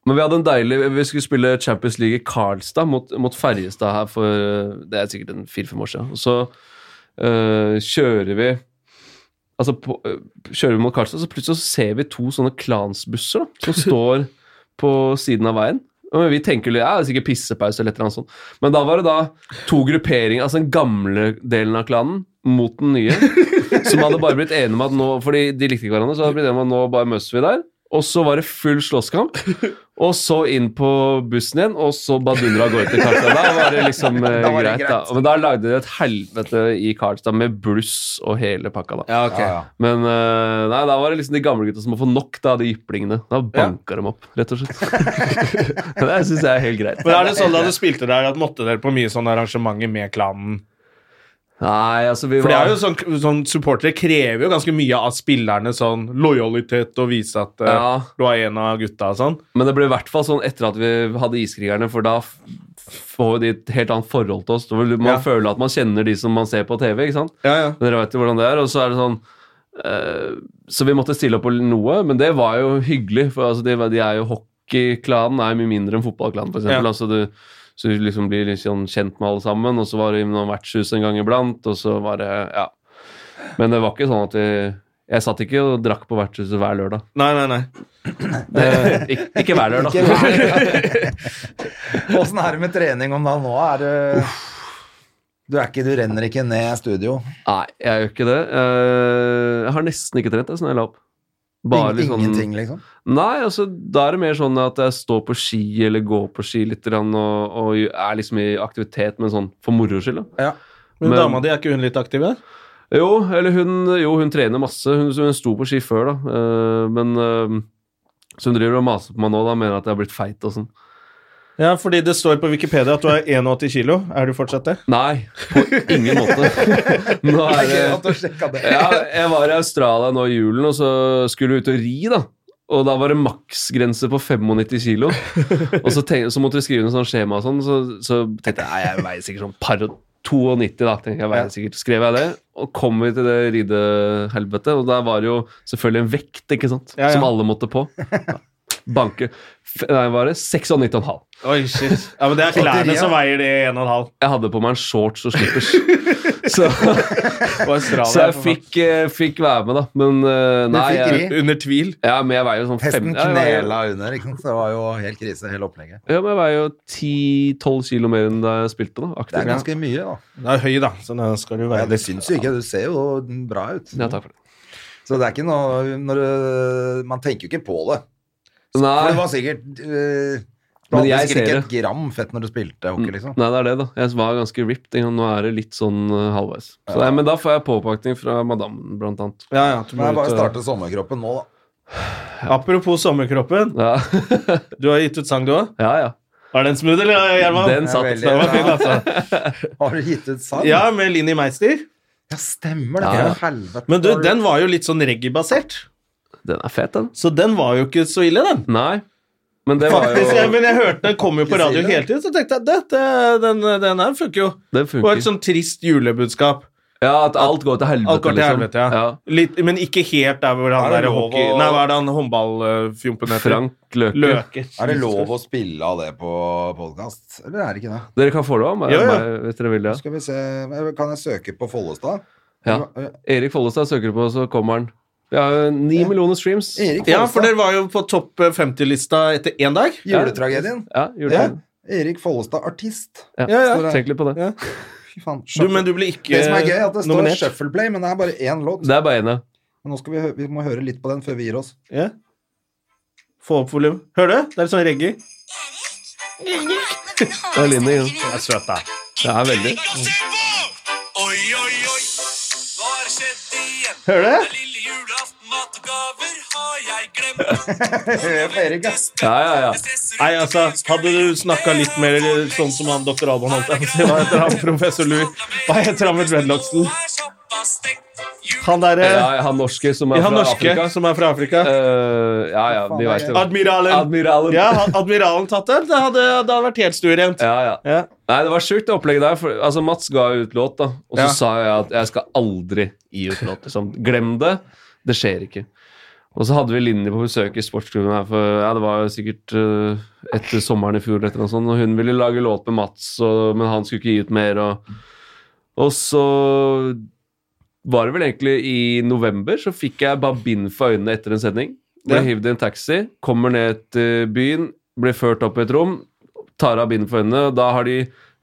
Men vi hadde en deilig Vi skulle spille Champions League i Karlstad mot, mot Ferjestad her for eh, Det er sikkert en fire-fem år siden. Og så eh, kjører vi Altså på, eh, kjører vi mot Karlstad, så plutselig så ser vi to sånne klansbusser da, som står på siden av veien. Og vi tenker ja, det er sikkert pissepause eller et eller annet sånt. Men da var det da to grupperinger, altså den gamle delen av klanen mot den
<laughs>
nye, som hadde bare blitt enige om at nå Fordi de likte ikke hverandre, så hadde de blitt enige om at nå bare møtes vi der. Og så var det full slåsskamp. Og så inn på bussen igjen, og så badundra av gårde til Karlstad. Da var det
<laughs>
liksom eh,
Da var det
greit, da.
greit.
Men da lagde de et helvete i Karlstad med bluss og hele pakka, da.
Ja, ok.
Ja, ja.
Men eh, nei, da var det liksom de gamle gutta som må få nok, da, de jyplingene. Da banka dem opp, rett og slett. <laughs> det syns jeg er helt greit.
Men er det sånn da du spilte der at måtte dere på mye sånne arrangementer med klanen?
Nei, altså vi
For det
var
er jo sånn, sånn Supportere krever jo ganske mye av spillerne. Sånn lojalitet og vise at eh,
Ja.
du er en av gutta og sånn.
Men det ble i hvert fall sånn etter at vi hadde Iskrigerne, for da f- får de et helt annet forhold til oss. Da vil Man
Ja.
føler at man kjenner de som man ser på TV, ikke sant?
Ja, ja.
Dere vet jo hvordan det er, og så er det sånn eh, Så vi måtte stille opp på noe, men det var jo hyggelig, for altså, de, de er jo hockeyklanen er jo mye mindre enn fotballklanen, f.eks.
Ja.
Altså, du- så du liksom blir litt sånn kjent med alle sammen, og så var det noen vertshus en gang iblant, og så var det Ja. Men det var ikke sånn at vi jeg satt ikke og drakk på vertshuset hver lørdag.
Nei, nei, nei.
Det, ikke, <laughs> ikke hver lørdag.
Åssen er det med trening om dagen nå? Er det du, er ikke, du renner ikke ned studio.
Nei, jeg gjør ikke det. Eh, Jeg har nesten ikke trent, jeg, sånn jeg la opp. Bare litt
In-
sånn-
Ingenting, liksom.
Nei, altså, da er det mer sånn at jeg står på ski eller går på ski litt grann, og, og er liksom i aktivitet, men sånn for moro skyld. da.
Men,
Men-
dama di, er ikke hun litt aktiv der?
Jo, eller hun, jo, hun trener masse. Hun, hun sto på ski før, da. Eh, men eh, så hun driver og maser på meg nå da, mener at jeg har blitt feit og sånn.
Ja, fordi det står på Wikipedia at du er 81 kilo. Er du fortsatt det?
Nei, på ingen måte. <laughs> Nå er det
Gøy at du sjekka det.
ja, jeg var i Australia nå i julen, og så skulle vi ut og ri, da. Og da var det maksgrense på 95 kilo. Og så, tenk, så måtte vi skrive ned sånn skjema og sånn, så, så tenkte jeg nei, jeg veier sikkert sånn par og 92, da. tenkte jeg, veier sikkert. Skrev jeg det, og kom vi til det ridehelvetet, og der var det jo selvfølgelig en vekt, ikke sant,
Ja, ja.
som alle måtte på. Banke. F nei, var det 96,5.
Oi, shit. Ja, men det er klærne som veier det <laughs> 1,5.
Jeg hadde på meg en shorts og slippers. så, så jeg fikk, eh, fikk være med, da. Men eh, nei,
fikk
jeg,
ri?
Under tvil.
Ja, men jeg veier jo sånn fem...
Hesten
Ja, jeg veier-
knela under, ikke sant? så det var jo helt krise, hele opplegget.
Ja, men jeg veier jo 10-12 kilo mer enn da jeg spilte, da.
Det
Aktivt.
er ganske mye, da.
Den er høy, da. Så den skal du
Ja,
veie
det syns jo ikke, du ser jo bra ut.
Ja, takk for det.
Så det er ikke noe når du, Man tenker jo ikke på det. For det
sånn
Nei,
var sikkert øh, Du
Men
hadde
jeg
sikkert ikke
ser det. Mm.
et gram fett når du spilte hockey, liksom.
Nei, det er det, da. Jeg var ganske ripped. ikke sant? Nå er det litt sånn eh, halvveis. Så, nei, men da får jeg påpakning fra madammen, blant annet.
Ja, ja, du må
Men jeg
ut
eh,
bare
og-
starter sommerkroppen nå, da.
Apropos sommerkroppen.
Ja, <laughs>
Du har gitt ut sang, du òg.
ja. ja.
Var den smooth, eller, Gjerman?
Den satt.
veldig
Den var fin,
bra.
altså.
Har du gitt ut sang?
Ja, med Linni Meister.
Ja, stemmer det.
Ja, ja.
For helvete.
Men du, den var jo litt sånn reggae-basert.
Den er fet, den.
Så den var jo ikke så ille, den.
Nei. Men det
<laughs>
var
Faktisk, jeg,
jo
men jeg hørte den kom jo på
Ikke så
radio
ille.
hele tiden, så tenkte jeg dette, den, den her funker jo.
Den
Det var
funker.
et sånn trist julebudskap.
Ja, at alt går til helvete, liksom.
Alt går til helvete, ja. Litt, men ikke helt der hvor han
liksom. Er det
der
lov
hockey...
å-
Nei, hva er det han håndballfjompen heter?
Frank Løke.
Løke.
Er det lov å spille av det på podkast, eller er det ikke det?
Dere kan få det av meg,
Ja, ja.
meg, hvis dere vil det.
Skal vi se Kan jeg søke på Follestad? eh,
Ja. Erik Follestad søker du på, så kommer han. Vi har jo ni millioner streams.
Erik
Ja, for
Follestad.
dere var jo på topp 50-lista etter én dag.
Juletragedien.
Ja, gjorde
Ja.
det.
Erik Follestad, artist.
Ja.
Ja, ja.
Tenk litt på det.
Ja.
Fy faen.
Du, men du ble ikke
Det som er gøy, er at det står
nominert.
Shuffleplay, men det er bare én låt.
Det er bare én, ja.
Men nå skal vi, hø- vi må høre litt på den før vi gir oss.
Ja. Få opp volum. Hører du? Det er sånn reggae.
Det er Linni. ja.
Det er søt, da.
Det er veldig.
Oi, oi, oi. Hva har skjedd igjen?
Hører du?
Det er Lille julaften, matgaver har jeg glemt.
<laughs> Hør på Erik, ja.
Ja, ja, ja.
Nei, altså, hadde du snakka litt mer sånn som han doktor Alban holdt jeg på å si, Hva heter han professor Lou? Hva heter han med dreadlocksen? Han derre
ja. Han norske som er
Han
fra
norske
Afrika.
som er fra Afrika.
Eh, ja, ja, de veit jo.
Admiralen.
Admiralen.
Ja, hadde admiralen tatt den? Det hadde, det hadde vært helt stuerent.
Ja, ja.
Ja.
Nei, det var sjukt det opplegget der. For, altså, Mats ga ut låt, da. Og så
Ja.
sa jeg at jeg skal aldri gi ut låt. Liksom. Glem det. Det skjer ikke. Og så hadde vi Linni på besøk i sportsklubben her for ja, det var jo sikkert eh, etter sommeren i fjor. eller et Eller noe sånt, og hun ville lage låt med Mats, og, men han skulle ikke gi ut mer. Og, og så var det vel egentlig i november så fikk jeg bare bind for øynene etter en sending. Ble
Ja.
hivd i en taxi, kommer ned til byen, blir ført opp i et rom, tar av bindet for øynene. og Da har de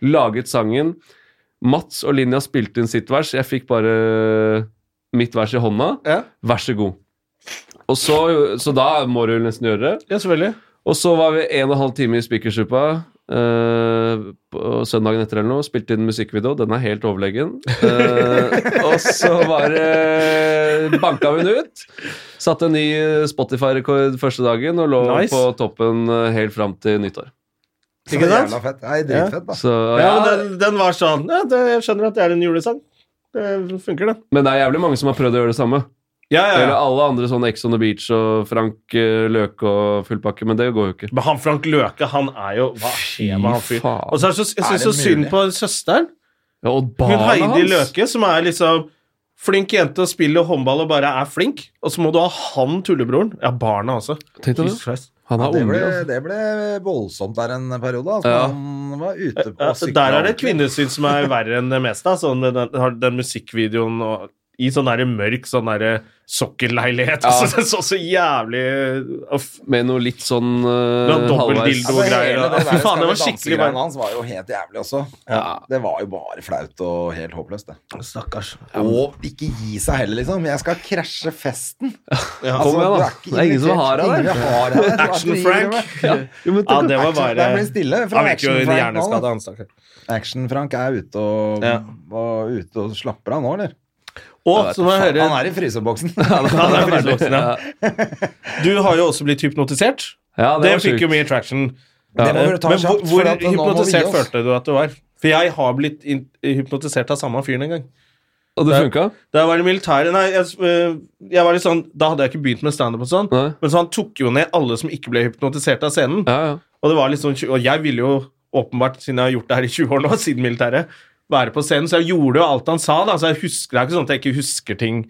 laget sangen. Mats og Linja spilte inn sitt vers. Jeg fikk bare eh, mitt vers i hånda.
Ja.
Vær så god. Og så, så da må du nesten gjøre det.
ja, selvfølgelig.
Og så var vi en og en halv time i Spikersuppa eh, på søndagen etter eller noe. Spilte inn musikkvideo. Den er helt overlegen. Eh, og så bare banka vi den ut. Satte en ny eh, Spotify-rekord første dagen og lå
Nice.
på toppen eh, helt fram til nyttår.
Ikke
Så
sant?
Jævla fett. Nei, dritfett, da.
Så,
Ja, men den, den var sånn ja, det, Jeg skjønner at det er en julesang. Det funker, det.
Men det er jævlig mange som har prøvd å gjøre det samme.
Ja, ja,
Eller
ja.
alle andre sånn Ex on the Beach og Frank eh, Løke og full pakke, men det går jo ikke.
Men han Frank Løke, han er jo Hva skjer med han fyren?
faen.
Og så er det så, jeg synes
Er det
så synd
mulig?
på søsteren.
Ja, og
Hun
barna
Heidi
hans!
Løke, som er liksom flink jente og spiller håndball og bare er flink. Og så må du ha han tullebroren. Ja, barna også.
Tenk deg
Jesus
det.
Christ.
Han er
Det ble,
unge. Altså.
det ble voldsomt der en periode. Altså.
Ja.
Han var ute på
Ja,
sykla.
Altså, der er det et kvinnesyn som er verre enn det meste. Altså. Den, den, den musikkvideoen og i sånn derre mørk sånn derre sokkelleilighet. <laughs>
Ja.
Altså, det så så jævlig Uff.
Med noe litt sånn
Det
uh,
var dobbelt
halvveis
dildo.
Altså, hele
greier, da.
det
Fy
der
faen, det var
Skal vi
skikkelig
danse-greiene
bare-
hans var jo helt jævlig også. Det var jo bare flaut og helt håpløst, det.
Stakkars.
Og ikke gi seg heller, liksom. Jeg skal krasje festen. Altså,
Kom igjen, da. Det er ingen som har deg der.
deg der.
Action-Frank.
Ja. Jo, men
Ja,
tenk
det
deg-
var
Action-
bare
Der blir det stille fra
Han virker jo
Action-Frank nå, da.
hjerneskada, han stakkar.
Action-Frank er ute og,
Ja.
og, ute og slapper av nå, eller?
Og så må jeg høre
Han er i
<laughs>
fryseboksen.
Han er frysevoksen, ja. Du har jo også blitt hypnotisert.
ja,
Det
var
fikk jo
sjukt.
mye traction.
Det må
Eh,
dere ta
Men
kjapt,
hvor,
for
hvor
at nå må vi gi
hypnotisert
oss.
følte du at du var? For jeg har blitt in- hypnotisert av samme fyren en gang.
Og det funka?
Da jeg var i militæret Nei, jeg, øh, jeg var litt sånn, da hadde jeg ikke begynt med standup og sånn.
Nei.
Men så han tok jo ned alle som ikke ble hypnotisert av scenen.
Ja, ja.
Og det var litt sånn, og jeg ville jo åpenbart, siden jeg har gjort det her i 20 år nå, <laughs> siden militæret, være på scenen. Så jeg gjorde jo alt han sa, da. Så jeg husker, det er ikke sånn at jeg ikke husker ting.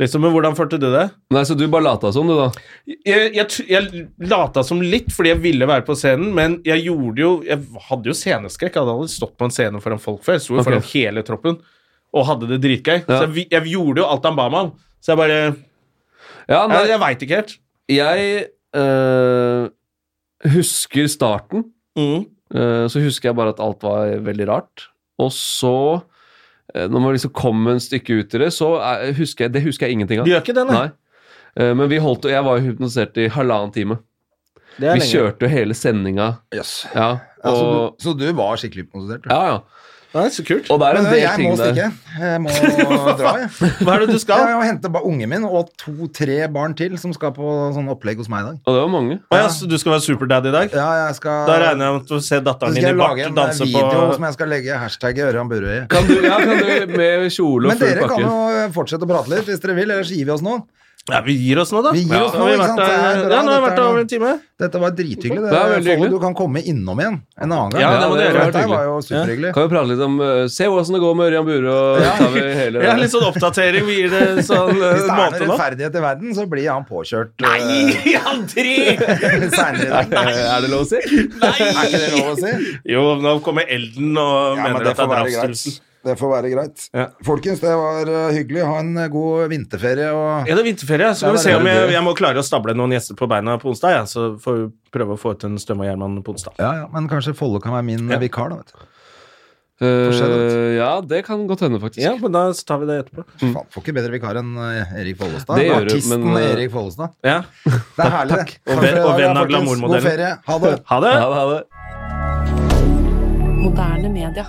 Liksom, men hvordan følte du det?
Nei, så du bare lata som, du, da?
Jeg, jeg, tr- jeg lata som litt fordi jeg ville være på scenen, men jeg gjorde jo Jeg hadde jo sceneskrekk. Jeg hadde aldri stått på en scene foran folk før. Jeg sto jo
Ok.
foran hele troppen og hadde det dritgøy. Så
Ja.
jeg, vi- jeg gjorde jo alt han ba meg om. Så jeg bare
Ja, nei,
Jeg, jeg veit ikke helt.
jeg øh, husker starten.
Mm.
Eh, Så husker jeg bare at alt var veldig rart. Og så, eh, når man liksom kom en stykke ut i det, så er- husker jeg, det husker jeg ingenting av.
Du gjør ikke det, nei?
Nei. Eh, Men vi holdt, og jeg var jo hypnotisert i halvannen time.
Det er
Vi
lenge.
kjørte jo hele sendinga.
Jøss.
Ja,
Ja, så,
og,
du, så du var skikkelig hypnotisert? du.
ja, ja.
Nei, så kult.
og det er en
Men, eh,
del
jeg
ting
må
der.
stikke. Jeg
<laughs>
må dra, jeg.
Hva er det
<laughs>
du skal?
Jeg må hente ba- ungen min og to-tre barn til som skal på sånn opplegg hos meg i dag.
Og det var mange.
Å ja, så du skal være superdaddy i dag?
Ja, jeg skal,
Da regner jeg med at du ser
så
datteren
skal
din i
jeg lage
bart
en eh,
danse på
video som jeg skal legge hashtagget Ørjan Burøe i.
Kan du, ja, kan du med kjole
Men
og full
dere kan
pakke?
jo fortsette å prate litt hvis dere vil, ellers gir vi oss nå.
Ja, vi gir oss nå, da.
Vi gir oss
Ja,
nå,
har
ikke
vært
sant?
der-
Det er bra,
Ja, nå har vi
dette
vært
er
der over
noe.
en time.
Dette var drithyggelig.
Det er veldig
Follo,
hyggelig.
Du kan komme innom igjen en annen gang.
Ja, det må du
det
gjøre.
var
Dette var
hyggelig.
jo superhyggelig.
Kan vi prate litt om eh, Se hvordan det går med Ørjan Bure, og så tar vi
<laughs>
hele
Ja, litt sånn oppdatering. Vi gir det sånn
Hvis
eh,
det er
måte
noe
nå.
rettferdighet i verden, så blir han påkjørt eh,
Nei, <laughs> aldri!
<laughs> senere i dag.
Er det lov å si?
Er ikke det lov å si?
Jo, nå kommer Elden og
Ja, men
mener
det
at det er
får være
drapstrussel.
greit. Det får være greit.
Ja.
Folkens, det var eh, hyggelig. Ha en eh, god vinterferie og
Ja, det er vinterferie, så skal
Ja,
vi
det
se
er
om
det.
jeg, jeg må klare å stable noen gjester på beina på onsdag. Ja. Så får vi prøve å få ut en Støm og Gjerman på onsdag.
ja, ja, Men kanskje Follo kan være min eh, vikar, da. vet du. sånn
Eh, ja, det kan godt hende, faktisk.
Ja, men da så tar vi det etterpå.
Faen, får ikke bedre vikar enn eh, Erik Follestad.
Det gjør du,
Artisten
men, eh,
Erik Follestad.
Ja.
Det er herlig,
Og
det. Takk for i
venn- og venn
dag, da,
av
folkens.
glamourmodellen.
God ferie. Ha
<laughs>
det.
Ha det!
Ha det.
Moderne media.